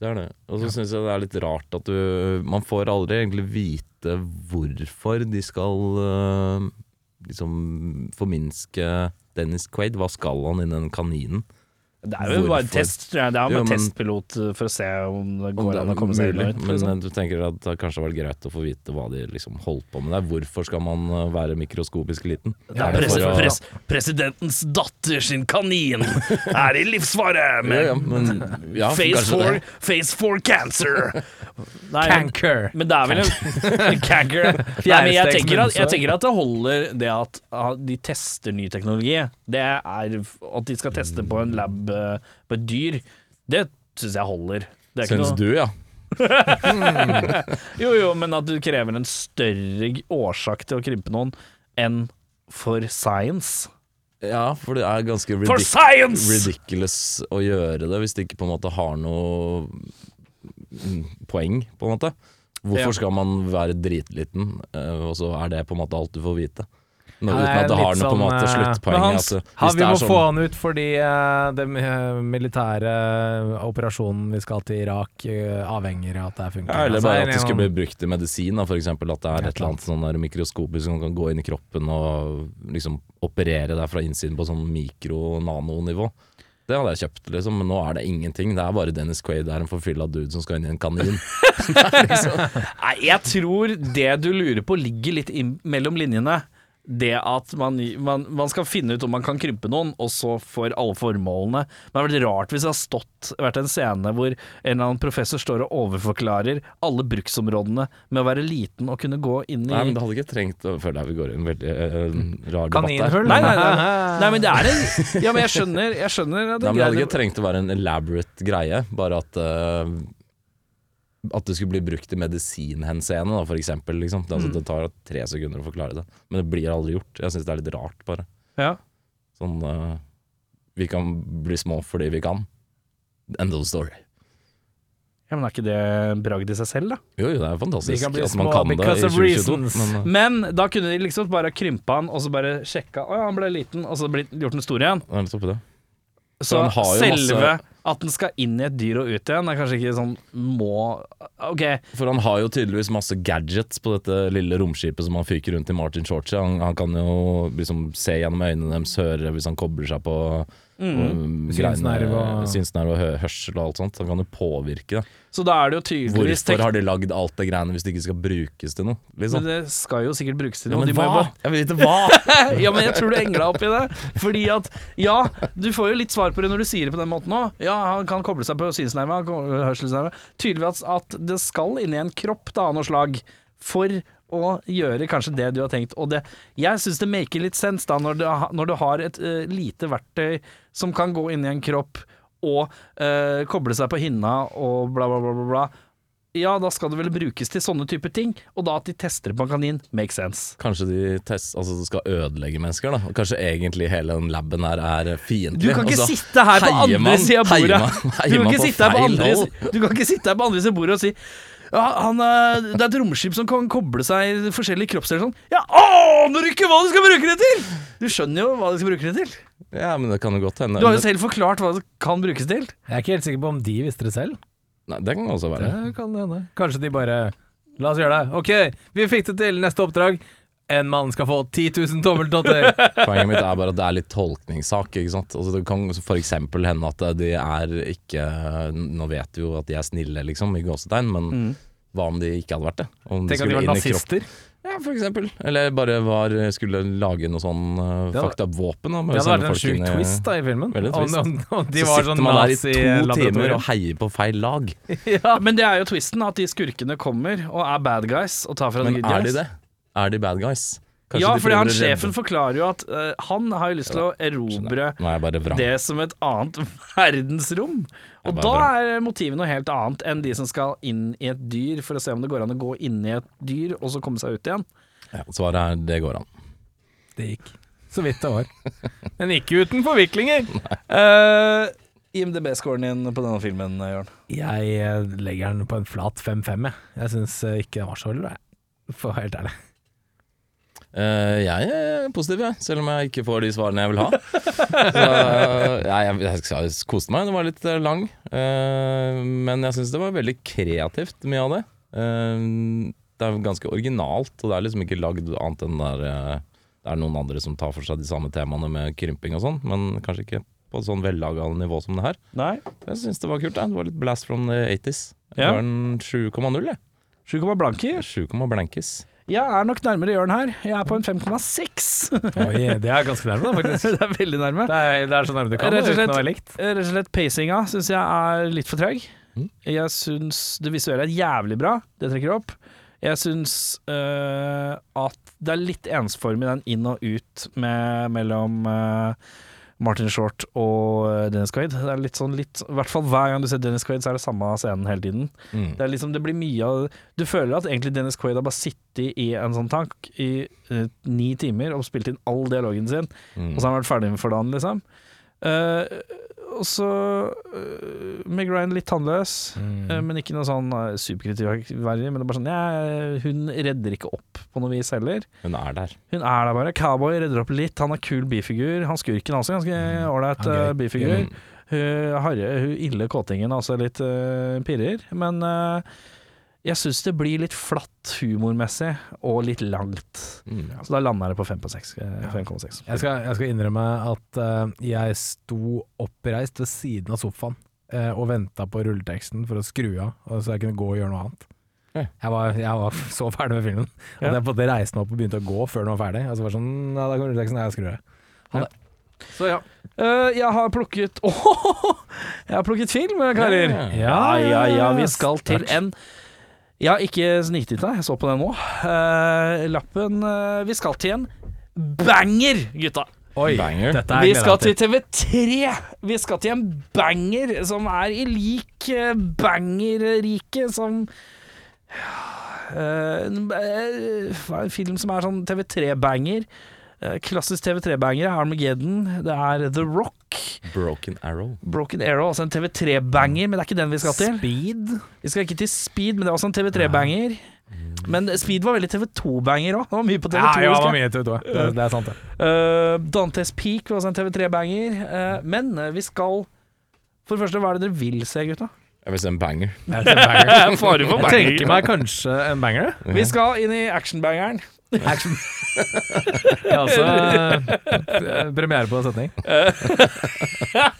Speaker 2: Det er det. Og så syns jeg det er litt rart at du Man får aldri egentlig vite hvorfor de skal øh, liksom forminske Dennis Quaid. Hva skal han i den kaninen?
Speaker 1: Det er jo bare en
Speaker 2: Hvorfor?
Speaker 1: test, tror jeg. Det er jo
Speaker 2: Jo,
Speaker 1: en
Speaker 2: men-
Speaker 1: testpilot uh, for å se om det
Speaker 2: Om
Speaker 1: går
Speaker 2: det er
Speaker 1: an å komme seg inn
Speaker 2: mulig.
Speaker 1: og ut.
Speaker 2: Men
Speaker 1: Liksom.
Speaker 2: øh, du tenker at det kanskje hadde vært greit å få vite hva de liksom holdt på med der. Hvorfor skal man øh, være mikroskopisk liten?
Speaker 1: Det er
Speaker 2: det
Speaker 1: pres
Speaker 2: for å-
Speaker 1: pres presidentens datter sin kanin er i livsfare med
Speaker 2: Ja, ja, men, ja,
Speaker 1: face,
Speaker 2: kanskje
Speaker 1: for,
Speaker 2: det.
Speaker 1: face for cancer. Nei, men-
Speaker 3: Canker!
Speaker 1: men det er vel en Canker. Nei, men jeg tenker, at, jeg tenker at det holder det at ah, de tester ny teknologi. Det er f- At de skal teste på en lab eh, på et dyr, det syns jeg holder. Det er ikke
Speaker 2: Syns
Speaker 1: noe-
Speaker 2: du, ja.
Speaker 1: Jo, jo, men at du krever en større g- årsak til å krympe noen enn for science.
Speaker 2: Ja, for det er ganske
Speaker 1: For
Speaker 2: ridiculous.
Speaker 1: science!
Speaker 2: ridiculous å gjøre det hvis de ikke på en måte har noe mm, poeng, på en måte.
Speaker 1: Ja.
Speaker 2: Hvorfor skal man være dritliten, eh, og så er det på en måte alt du får vite? Nå,
Speaker 3: Ja, det
Speaker 2: uten
Speaker 3: er
Speaker 2: at det har
Speaker 3: litt
Speaker 2: noe på en
Speaker 3: sånn,
Speaker 2: måte
Speaker 3: eh,
Speaker 2: sluttpoeng.
Speaker 1: men Hans,
Speaker 2: altså,
Speaker 3: Ja,
Speaker 2: hvis
Speaker 3: vi
Speaker 2: det
Speaker 3: må
Speaker 2: er
Speaker 3: få
Speaker 2: sånn,
Speaker 3: han ut fordi eh, den eh, militære eh, operasjonen vi skal til Irak eh, avhenger av at det her funker.
Speaker 2: ja, eller
Speaker 3: Altså,
Speaker 2: bare
Speaker 3: en
Speaker 2: at det
Speaker 3: sånn-
Speaker 2: skulle bli brukt i medisin, da, for eksempel at det er
Speaker 3: Et
Speaker 2: et eller annet sånn der mikroskopisk som kan gå inn i kroppen og liksom operere deg fra innsiden på sånn mikro-nanonivå. Det hadde jeg kjøpt, liksom, men nå er det ingenting. Det er bare Dennis Quaid det er en forfylla dude som skal inn i en kanin.
Speaker 1: Nei, jeg tror det du lurer på ligger litt inn- mellom linjene. Det at man, man, man skal finne ut om man kan krympe noen, og så for alle formålene. Men det hadde vært rart hvis det har stått, vært en scene hvor en eller annen professor står og overforklarer alle bruksområdene med å være liten og kunne gå inn i
Speaker 2: Nei, men det hadde ikke trengt å føle jeg vi går i en veldig eh, rar debatt der.
Speaker 3: Kaninhull?
Speaker 1: Nei, nei, nei. nei, men det er en Ja, men jeg skjønner, jeg skjønner at
Speaker 2: Nei,
Speaker 1: det
Speaker 2: men Det hadde
Speaker 1: greier
Speaker 2: ikke trengt å være en elaborate greie, bare at eh, At det skulle bli brukt i medisinhenseende, da, for eksempel. Liksom. Det, altså,
Speaker 3: Mm.
Speaker 2: det tar tre sekunder å forklare det, men det blir aldri gjort. Jeg syns det er litt rart, bare.
Speaker 1: Ja.
Speaker 2: Sånn eh, Vi kan bli små fordi vi kan. End of story.
Speaker 1: ja, men er ikke det en bragd i seg selv, da?
Speaker 2: Jo, jo, det er fantastisk
Speaker 3: Vi kan bli
Speaker 2: at man
Speaker 3: små
Speaker 2: kan det
Speaker 3: because
Speaker 2: i
Speaker 3: of
Speaker 2: 2022,
Speaker 3: reasons.
Speaker 2: men eh,
Speaker 1: Men da kunne de liksom bare krympa han, og så bare sjekka Å ja, han ble liten, og så blitt, gjort den stor igjen.
Speaker 2: det er litt oppi det.
Speaker 1: Så
Speaker 2: han har jo
Speaker 1: selve
Speaker 2: masse-
Speaker 1: at den skal inn i et dyr og ut igjen, er kanskje ikke sånn må OK.
Speaker 2: For han har jo tydeligvis masse gadgets på dette lille romskipet som han fyker rundt i Martin Shorts. Han, han kan jo liksom se gjennom øynene deres, høre hvis han kobler seg på
Speaker 1: Mm.
Speaker 2: um,
Speaker 3: Synsnerve og-
Speaker 2: synsnerve og hø hørsel og alt sånt. Han kan jo påvirke det.
Speaker 1: Så da er det jo tydeligvis
Speaker 2: Hvorfor har de lagd alt det greiene hvis det ikke skal brukes til noe?
Speaker 1: Men
Speaker 2: Liksom?
Speaker 1: det skal jo sikkert brukes til
Speaker 2: Ja,
Speaker 1: noe.
Speaker 2: men
Speaker 1: de må jo
Speaker 2: hva?
Speaker 1: bare-
Speaker 2: Jeg vil vite hva!
Speaker 1: ja, men jeg tror du engla opp i det. Fordi at ja, du får jo litt svar på det når du sier det på den måten òg. Ja, han kan koble seg på synsnerve, han kan koble hørselsnerve. Tydeligvis at det skal inn i en kropp da, av noe slag for å gjøre kanskje det du har tenkt. Og det, jeg syns det maker litt sens da, når du, ha- når du har et eh, lite verktøy som kan gå inn i en kropp og eh, koble seg på hinna og bla, bla, bla, bla. bla. Ja, da skal det vel brukes til sånne typer ting, og da at de tester det på en kanin, makes sense.
Speaker 2: Kanskje de test, altså, de skal ødelegge mennesker, da. Og kanskje egentlig hele den laben her er fiendtlig.
Speaker 1: Du kan ikke
Speaker 2: og så
Speaker 1: sitte her på
Speaker 2: Altså,
Speaker 1: andre
Speaker 2: heier man-
Speaker 1: sida av
Speaker 2: heier
Speaker 1: bordet.
Speaker 2: man-
Speaker 1: Du
Speaker 2: heier
Speaker 1: kan
Speaker 2: man
Speaker 1: ikke
Speaker 2: på
Speaker 1: sitte her på
Speaker 2: feil
Speaker 1: andre
Speaker 2: hold.
Speaker 1: si- Du kan ikke sitte her på andre siden av bordet og si ja, han, eh, det er et romskip som kan koble seg i forskjellige kroppsdeler sånn. Jeg aner ikke hva du skal bruke det til! Du skjønner jo hva du skal bruke det til.
Speaker 2: Ja, men det kan jo godt hende.
Speaker 1: Du har jo selv forklart hva det kan brukes til.
Speaker 3: Jeg er ikke helt sikker på om de visste det selv.
Speaker 2: Nei, det kan også være.
Speaker 3: Det kan hende. Kanskje de bare La oss gjøre det. OK, vi fikk det til. Neste oppdrag. En mann skal få 10 000 tommeltotter.
Speaker 2: Poenget mitt er bare at det er litt tolkningssak. ikke sant? Altså, det kan f.eks. hende at de er ikke Nå vet vi jo at de er snille, liksom, i gåsetegn, men hva om de ikke hadde vært det? Om
Speaker 3: Mm. Tenk at de
Speaker 2: skulle
Speaker 3: var
Speaker 2: inn i kropp-
Speaker 3: nazister.
Speaker 2: Ja, for eksempel. Eller bare var, skulle lage noe sånn uh,
Speaker 3: hadde-
Speaker 2: fucked up våpen. Da, med
Speaker 3: Det
Speaker 2: å
Speaker 3: hadde
Speaker 2: sende
Speaker 3: vært en
Speaker 2: folk
Speaker 3: sjuk
Speaker 2: inn i-
Speaker 3: twist da i filmen.
Speaker 2: Veldig
Speaker 3: Om,
Speaker 2: twist.
Speaker 3: om, om de
Speaker 2: Så
Speaker 3: var
Speaker 2: sitter
Speaker 3: sånn
Speaker 2: man der i to timer og
Speaker 3: nazi-laboratorium.
Speaker 2: heier på feil lag.
Speaker 1: Men det er jo twisten, at de skurkene kommer og er bad guys og tar fra de
Speaker 2: Men
Speaker 1: good
Speaker 2: er de
Speaker 1: guys.
Speaker 2: det? Er de bad guys? Kanskje
Speaker 1: Ja,
Speaker 2: de
Speaker 1: fordi
Speaker 2: prøver
Speaker 1: han
Speaker 2: å redde-
Speaker 1: sjefen forklarer jo at eh, han har jo lyst til å erobre
Speaker 2: Nå er jeg bare vrang.
Speaker 1: det som et annet verdensrom. Og
Speaker 2: Det er
Speaker 1: da
Speaker 2: bare
Speaker 1: er motivet noe helt annet enn de som skal inn i et dyr for å se om det går an å gå inn i et dyr og så komme seg ut igjen.
Speaker 2: Ja, svaret er det går an.
Speaker 3: Det gikk. Så vidt det var. Men ikke uten forviklinger. Eh,
Speaker 1: IMDb-scoren din på denne filmen, Jørn?
Speaker 3: Jeg eh, legger den på en flat 5-5, jeg. Jeg syns ikke den var så ille, jeg. For å være helt ærlig.
Speaker 2: Eh, jeg er positiv, jeg, selv om jeg ikke får de svarene jeg vil ha. Så, eh, jeg, jeg, jeg koste meg. Den var litt eh, lang. Eh, men jeg syns det var veldig kreativt, mye av det. Eh, det er ganske originalt, og det er liksom ikke lagd annet enn der eh, det er noen andre som tar for seg de samme temaene med krymping og sånn, men kanskje ikke på et sånn vellaga nivå som det her.
Speaker 1: Nei.
Speaker 2: Jeg syns det var kult. Jeg. Det var litt blast from the 80s. Jeg
Speaker 1: Ja.
Speaker 2: ga den 7,0, jeg.
Speaker 1: 7,0 blanke.
Speaker 2: 7,0 blankis.
Speaker 1: Jeg er nok nærmere Jørn her. Jeg er på en 5,6.
Speaker 3: Oi, det er ganske nærme, da, faktisk.
Speaker 1: det er veldig nærme.
Speaker 3: Det er, det er så nærme du kan,
Speaker 1: Rett og
Speaker 3: uten
Speaker 1: slett.
Speaker 3: å være likt.
Speaker 1: Eh, Rett og slett pacinga syns jeg er litt for treg.
Speaker 2: Mm.
Speaker 1: Jeg syns det visuelle er jævlig bra, det trekker opp. Jeg syns eh, at det er litt ensformig den inn og ut med, mellom eh, Martin Short og eh, Dennis Quaid. Det er litt sånn litt I hvert fall hver gang du ser Dennis Quaid, så er det samme scenen hele tiden.
Speaker 2: Mm.
Speaker 1: Det er liksom, det blir mye av Du føler at egentlig Dennis Quaid har bare sittet i en sånn tank i eh, ni timer og spilt inn all dialogen sin.
Speaker 2: Mm.
Speaker 1: Og så har han vært ferdig med for dagen, liksom. Eh, og så eh, Meg Ryan litt tannløs,
Speaker 2: Mm.
Speaker 3: Mm.
Speaker 1: eh, men ikke noe sånn eh, superkritikkverdig. Men det er bare sånn ja, Hun redder ikke opp på noe vis heller.
Speaker 2: Hun er der.
Speaker 1: Hun er der bare. Cowboy redder opp litt. Han er kul bifigur. Han skurken er også ganske ålreit
Speaker 3: Mm. Han er Mm.
Speaker 1: eh,
Speaker 3: gøy.
Speaker 1: bifigur. Hun harre, hun ille kåtingen er også litt eh, pirrer. Men eh, jeg syns det blir litt flatt humormessig, og litt langt.
Speaker 2: Mm.
Speaker 1: Så da lander det på 5 på seks, eh, 5,6.
Speaker 3: Jeg skal, jeg skal innrømme at eh, jeg sto oppreist ved siden av sofaen eh, og venta på rulleteksten for å skru av, og så jeg kunne gå og gjøre noe annet.
Speaker 2: Ja.
Speaker 3: Jeg var, jeg var så ferdig med filmen at
Speaker 1: Ja.
Speaker 3: jeg på en måte reiste meg opp og begynte å gå før den var ferdig. Og så var det sånn Ja, da kommer rulleteksten, jeg skrur av. Ha det. Så ja.
Speaker 1: Eh, jeg har plukket Åhåhå! jeg har plukket film, eh, karer.
Speaker 2: Ja.
Speaker 1: Ja, ja, ja. Vi skal til en Jeg har ikke sniktitt deg, jeg så på den nå. Eh, lappen eh, Vi skal til en banger, gutta.
Speaker 3: Oi,
Speaker 2: Banger.
Speaker 3: dette er
Speaker 1: Vi
Speaker 3: jeg gleder
Speaker 1: skal
Speaker 3: meg
Speaker 1: til TV3. Vi skal til en banger som er i lik eh, banger-riket som Eh, en ba- eh, hva er en film som er sånn TV3-banger. Eh, klassisk TV3-banger er Armageddon. Det er The Rock.
Speaker 2: Broken Arrow.
Speaker 1: Broken Arrow, altså en TV3-banger, men det er ikke den vi skal til.
Speaker 3: Speed.
Speaker 1: Vi skal ikke til Speed, men det er også en TV3-banger. Men Speed var veldig TV2-banger òg. Det var mye på TV2.
Speaker 3: Ja, ja, det
Speaker 1: husker
Speaker 3: var
Speaker 1: jeg.
Speaker 3: mye TV2. Det, det er sant, det.
Speaker 1: Eh, Dantes Peak var også en TV3-banger. eh, men eh, vi skal For det første, hva er det dere vil se, gutta?
Speaker 2: Jeg vil si en banger.
Speaker 3: Jeg tenker
Speaker 1: Jeg farer for
Speaker 3: tenker meg kanskje en banger.
Speaker 1: Vi skal inn i actionbangeren.
Speaker 3: Jeg har også eh, premiere på en setning.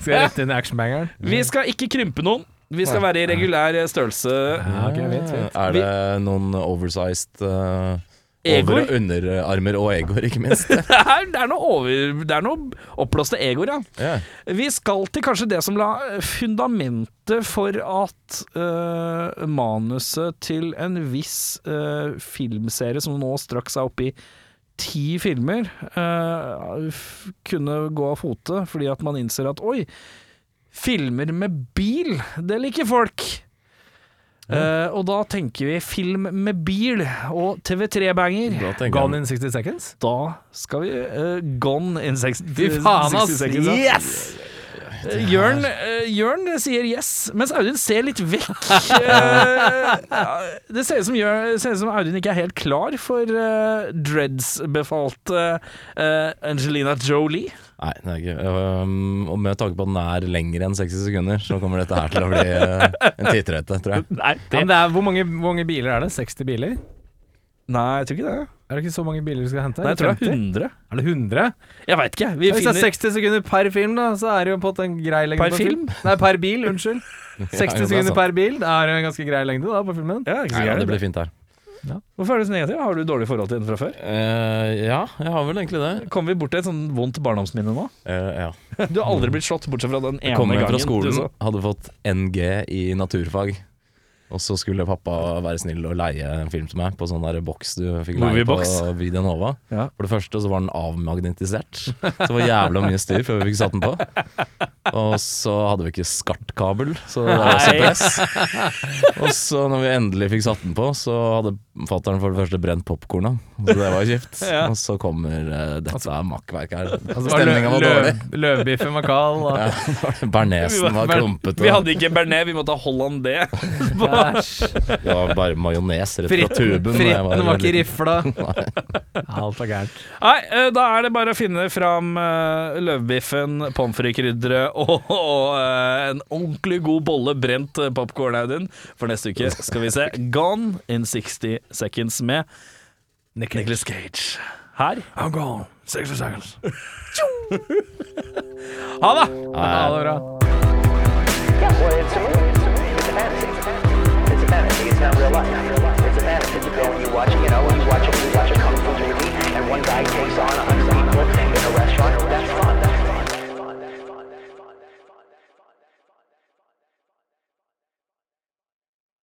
Speaker 3: Skal jeg rette inn i actionbangeren?
Speaker 1: Vi skal ikke krympe noen. Vi skal være i regulær eh, størrelse.
Speaker 3: Ja, ok, fint, fint.
Speaker 2: Er det noen oversized eh,
Speaker 1: Egor?
Speaker 2: over- og underarmer og egoer, ikke minst?
Speaker 1: Det er, det er noe over Det er noe oppblåste egoer, ja.
Speaker 2: ja.
Speaker 1: Vi skal til kanskje det som la fundamentet for at eh, manuset til en viss eh, filmserie, som nå straks er oppe i ti filmer, eh, f- kunne gå av fote, fordi at man innser at oi, filmer med bil, det liker folk. Eh, og da tenker vi film med bil og TV3-banger.
Speaker 2: Da tenker
Speaker 3: Gone
Speaker 2: jeg
Speaker 3: in 60 seconds?
Speaker 1: Da skal vi eh, gone in 60,
Speaker 3: Fy faen,
Speaker 1: 60
Speaker 3: ass!
Speaker 1: seconds. ja.
Speaker 3: Yes!
Speaker 1: Eh, Jørn, eh, Jørn sier yes, mens Audun ser litt vekk. Eh, ja, det ser ut som, Jørn, ser ut som Audun ikke er helt klar for eh, Dreads-befalte eh, Angelina Jolie.
Speaker 2: Nei, det er ikke um, Og med tanke på at den er lengre enn 60 sekunder, så kommer dette her til å bli eh, en titrete, tror jeg.
Speaker 1: Nei,
Speaker 3: Ja, men det er, hvor, mange, hvor mange biler er det? 60 biler?
Speaker 1: jeg tror ikke det.
Speaker 3: Er det ikke så mange biler du skal hente?
Speaker 1: Nei, jeg tror det er
Speaker 3: 50?
Speaker 1: 100.
Speaker 3: Er det 100?
Speaker 1: Jeg veit ikke. Vi
Speaker 3: Hvis det er
Speaker 1: finner
Speaker 3: 60 sekunder per film, da, så er det jo på en måte en grei lengde
Speaker 1: Per
Speaker 3: på Nei, per bil, unnskyld. 60
Speaker 2: det er
Speaker 3: sekunder
Speaker 2: sant.
Speaker 3: per bil, det er jo en ganske grei lengde da på filmen.
Speaker 1: ja, ikke så
Speaker 2: Nei, ja,
Speaker 1: gærent.
Speaker 2: det blir fint her.
Speaker 1: Hvorfor er du så negativ? Har du dårlig forhold til den fra før?
Speaker 2: Eh, ja, jeg har vel egentlig det.
Speaker 1: Kommer vi bort til et sånn vondt barndomsminne nå?
Speaker 2: Eh, ja.
Speaker 1: Du har aldri blitt slått, bortsett fra den ene
Speaker 2: Kom
Speaker 1: gangen.
Speaker 2: hjem fra
Speaker 1: du
Speaker 2: skolen,
Speaker 1: så.
Speaker 2: liksom. hadde fått NG i naturfag. Og så skulle pappa være snill og leie en film til meg på sånn der boks du fikk leie på
Speaker 1: Moviebox.
Speaker 2: Video Nova.
Speaker 1: Ja.
Speaker 2: For det første så var den avmagnetisert, så det var jævla mye styr før vi fikk satt den på. Og så hadde vi ikke skartkabel, så det var også
Speaker 1: Nei.
Speaker 2: press. Og så når vi endelig fikk satt den på, så hadde fattern for det første brent popkorna, så det var kjipt.
Speaker 1: Ja.
Speaker 2: Og så kommer eh, dette er makkverk her.
Speaker 3: Altså, var lø-
Speaker 2: Stemninga var
Speaker 3: løv-
Speaker 2: dårlig.
Speaker 3: Løvbiffen var kald. Og...
Speaker 2: Bernesen var klumpete.
Speaker 1: Vi hadde ikke bearnés, vi måtte ha hollandais.
Speaker 2: Det var bare majones rett fra tuben.
Speaker 3: Fritten,
Speaker 2: da jeg
Speaker 3: fritten var ikke
Speaker 2: liten.
Speaker 3: rifla. Alt er gærent.
Speaker 1: Nei, eh, da er det bare å finne fram uh, løvbiffen, pommes frites-krydderet og, og eh, en ordentlig god bolle brent uh, popkorn, Audun. For neste uke skal vi se Gone in 60 Seconds med Nicholas Cage. Her.
Speaker 5: I'm gone. 60 seconds.
Speaker 1: Ha det!
Speaker 3: Ha det bra.
Speaker 4: Yeah, well, it's a movie. It's a fantasy. It's a fantasy. It's not real life. It's a fantasy. You go and you watch, you know, you watch, a- you watch a kung fu movie, and one guy takes on a hundred people.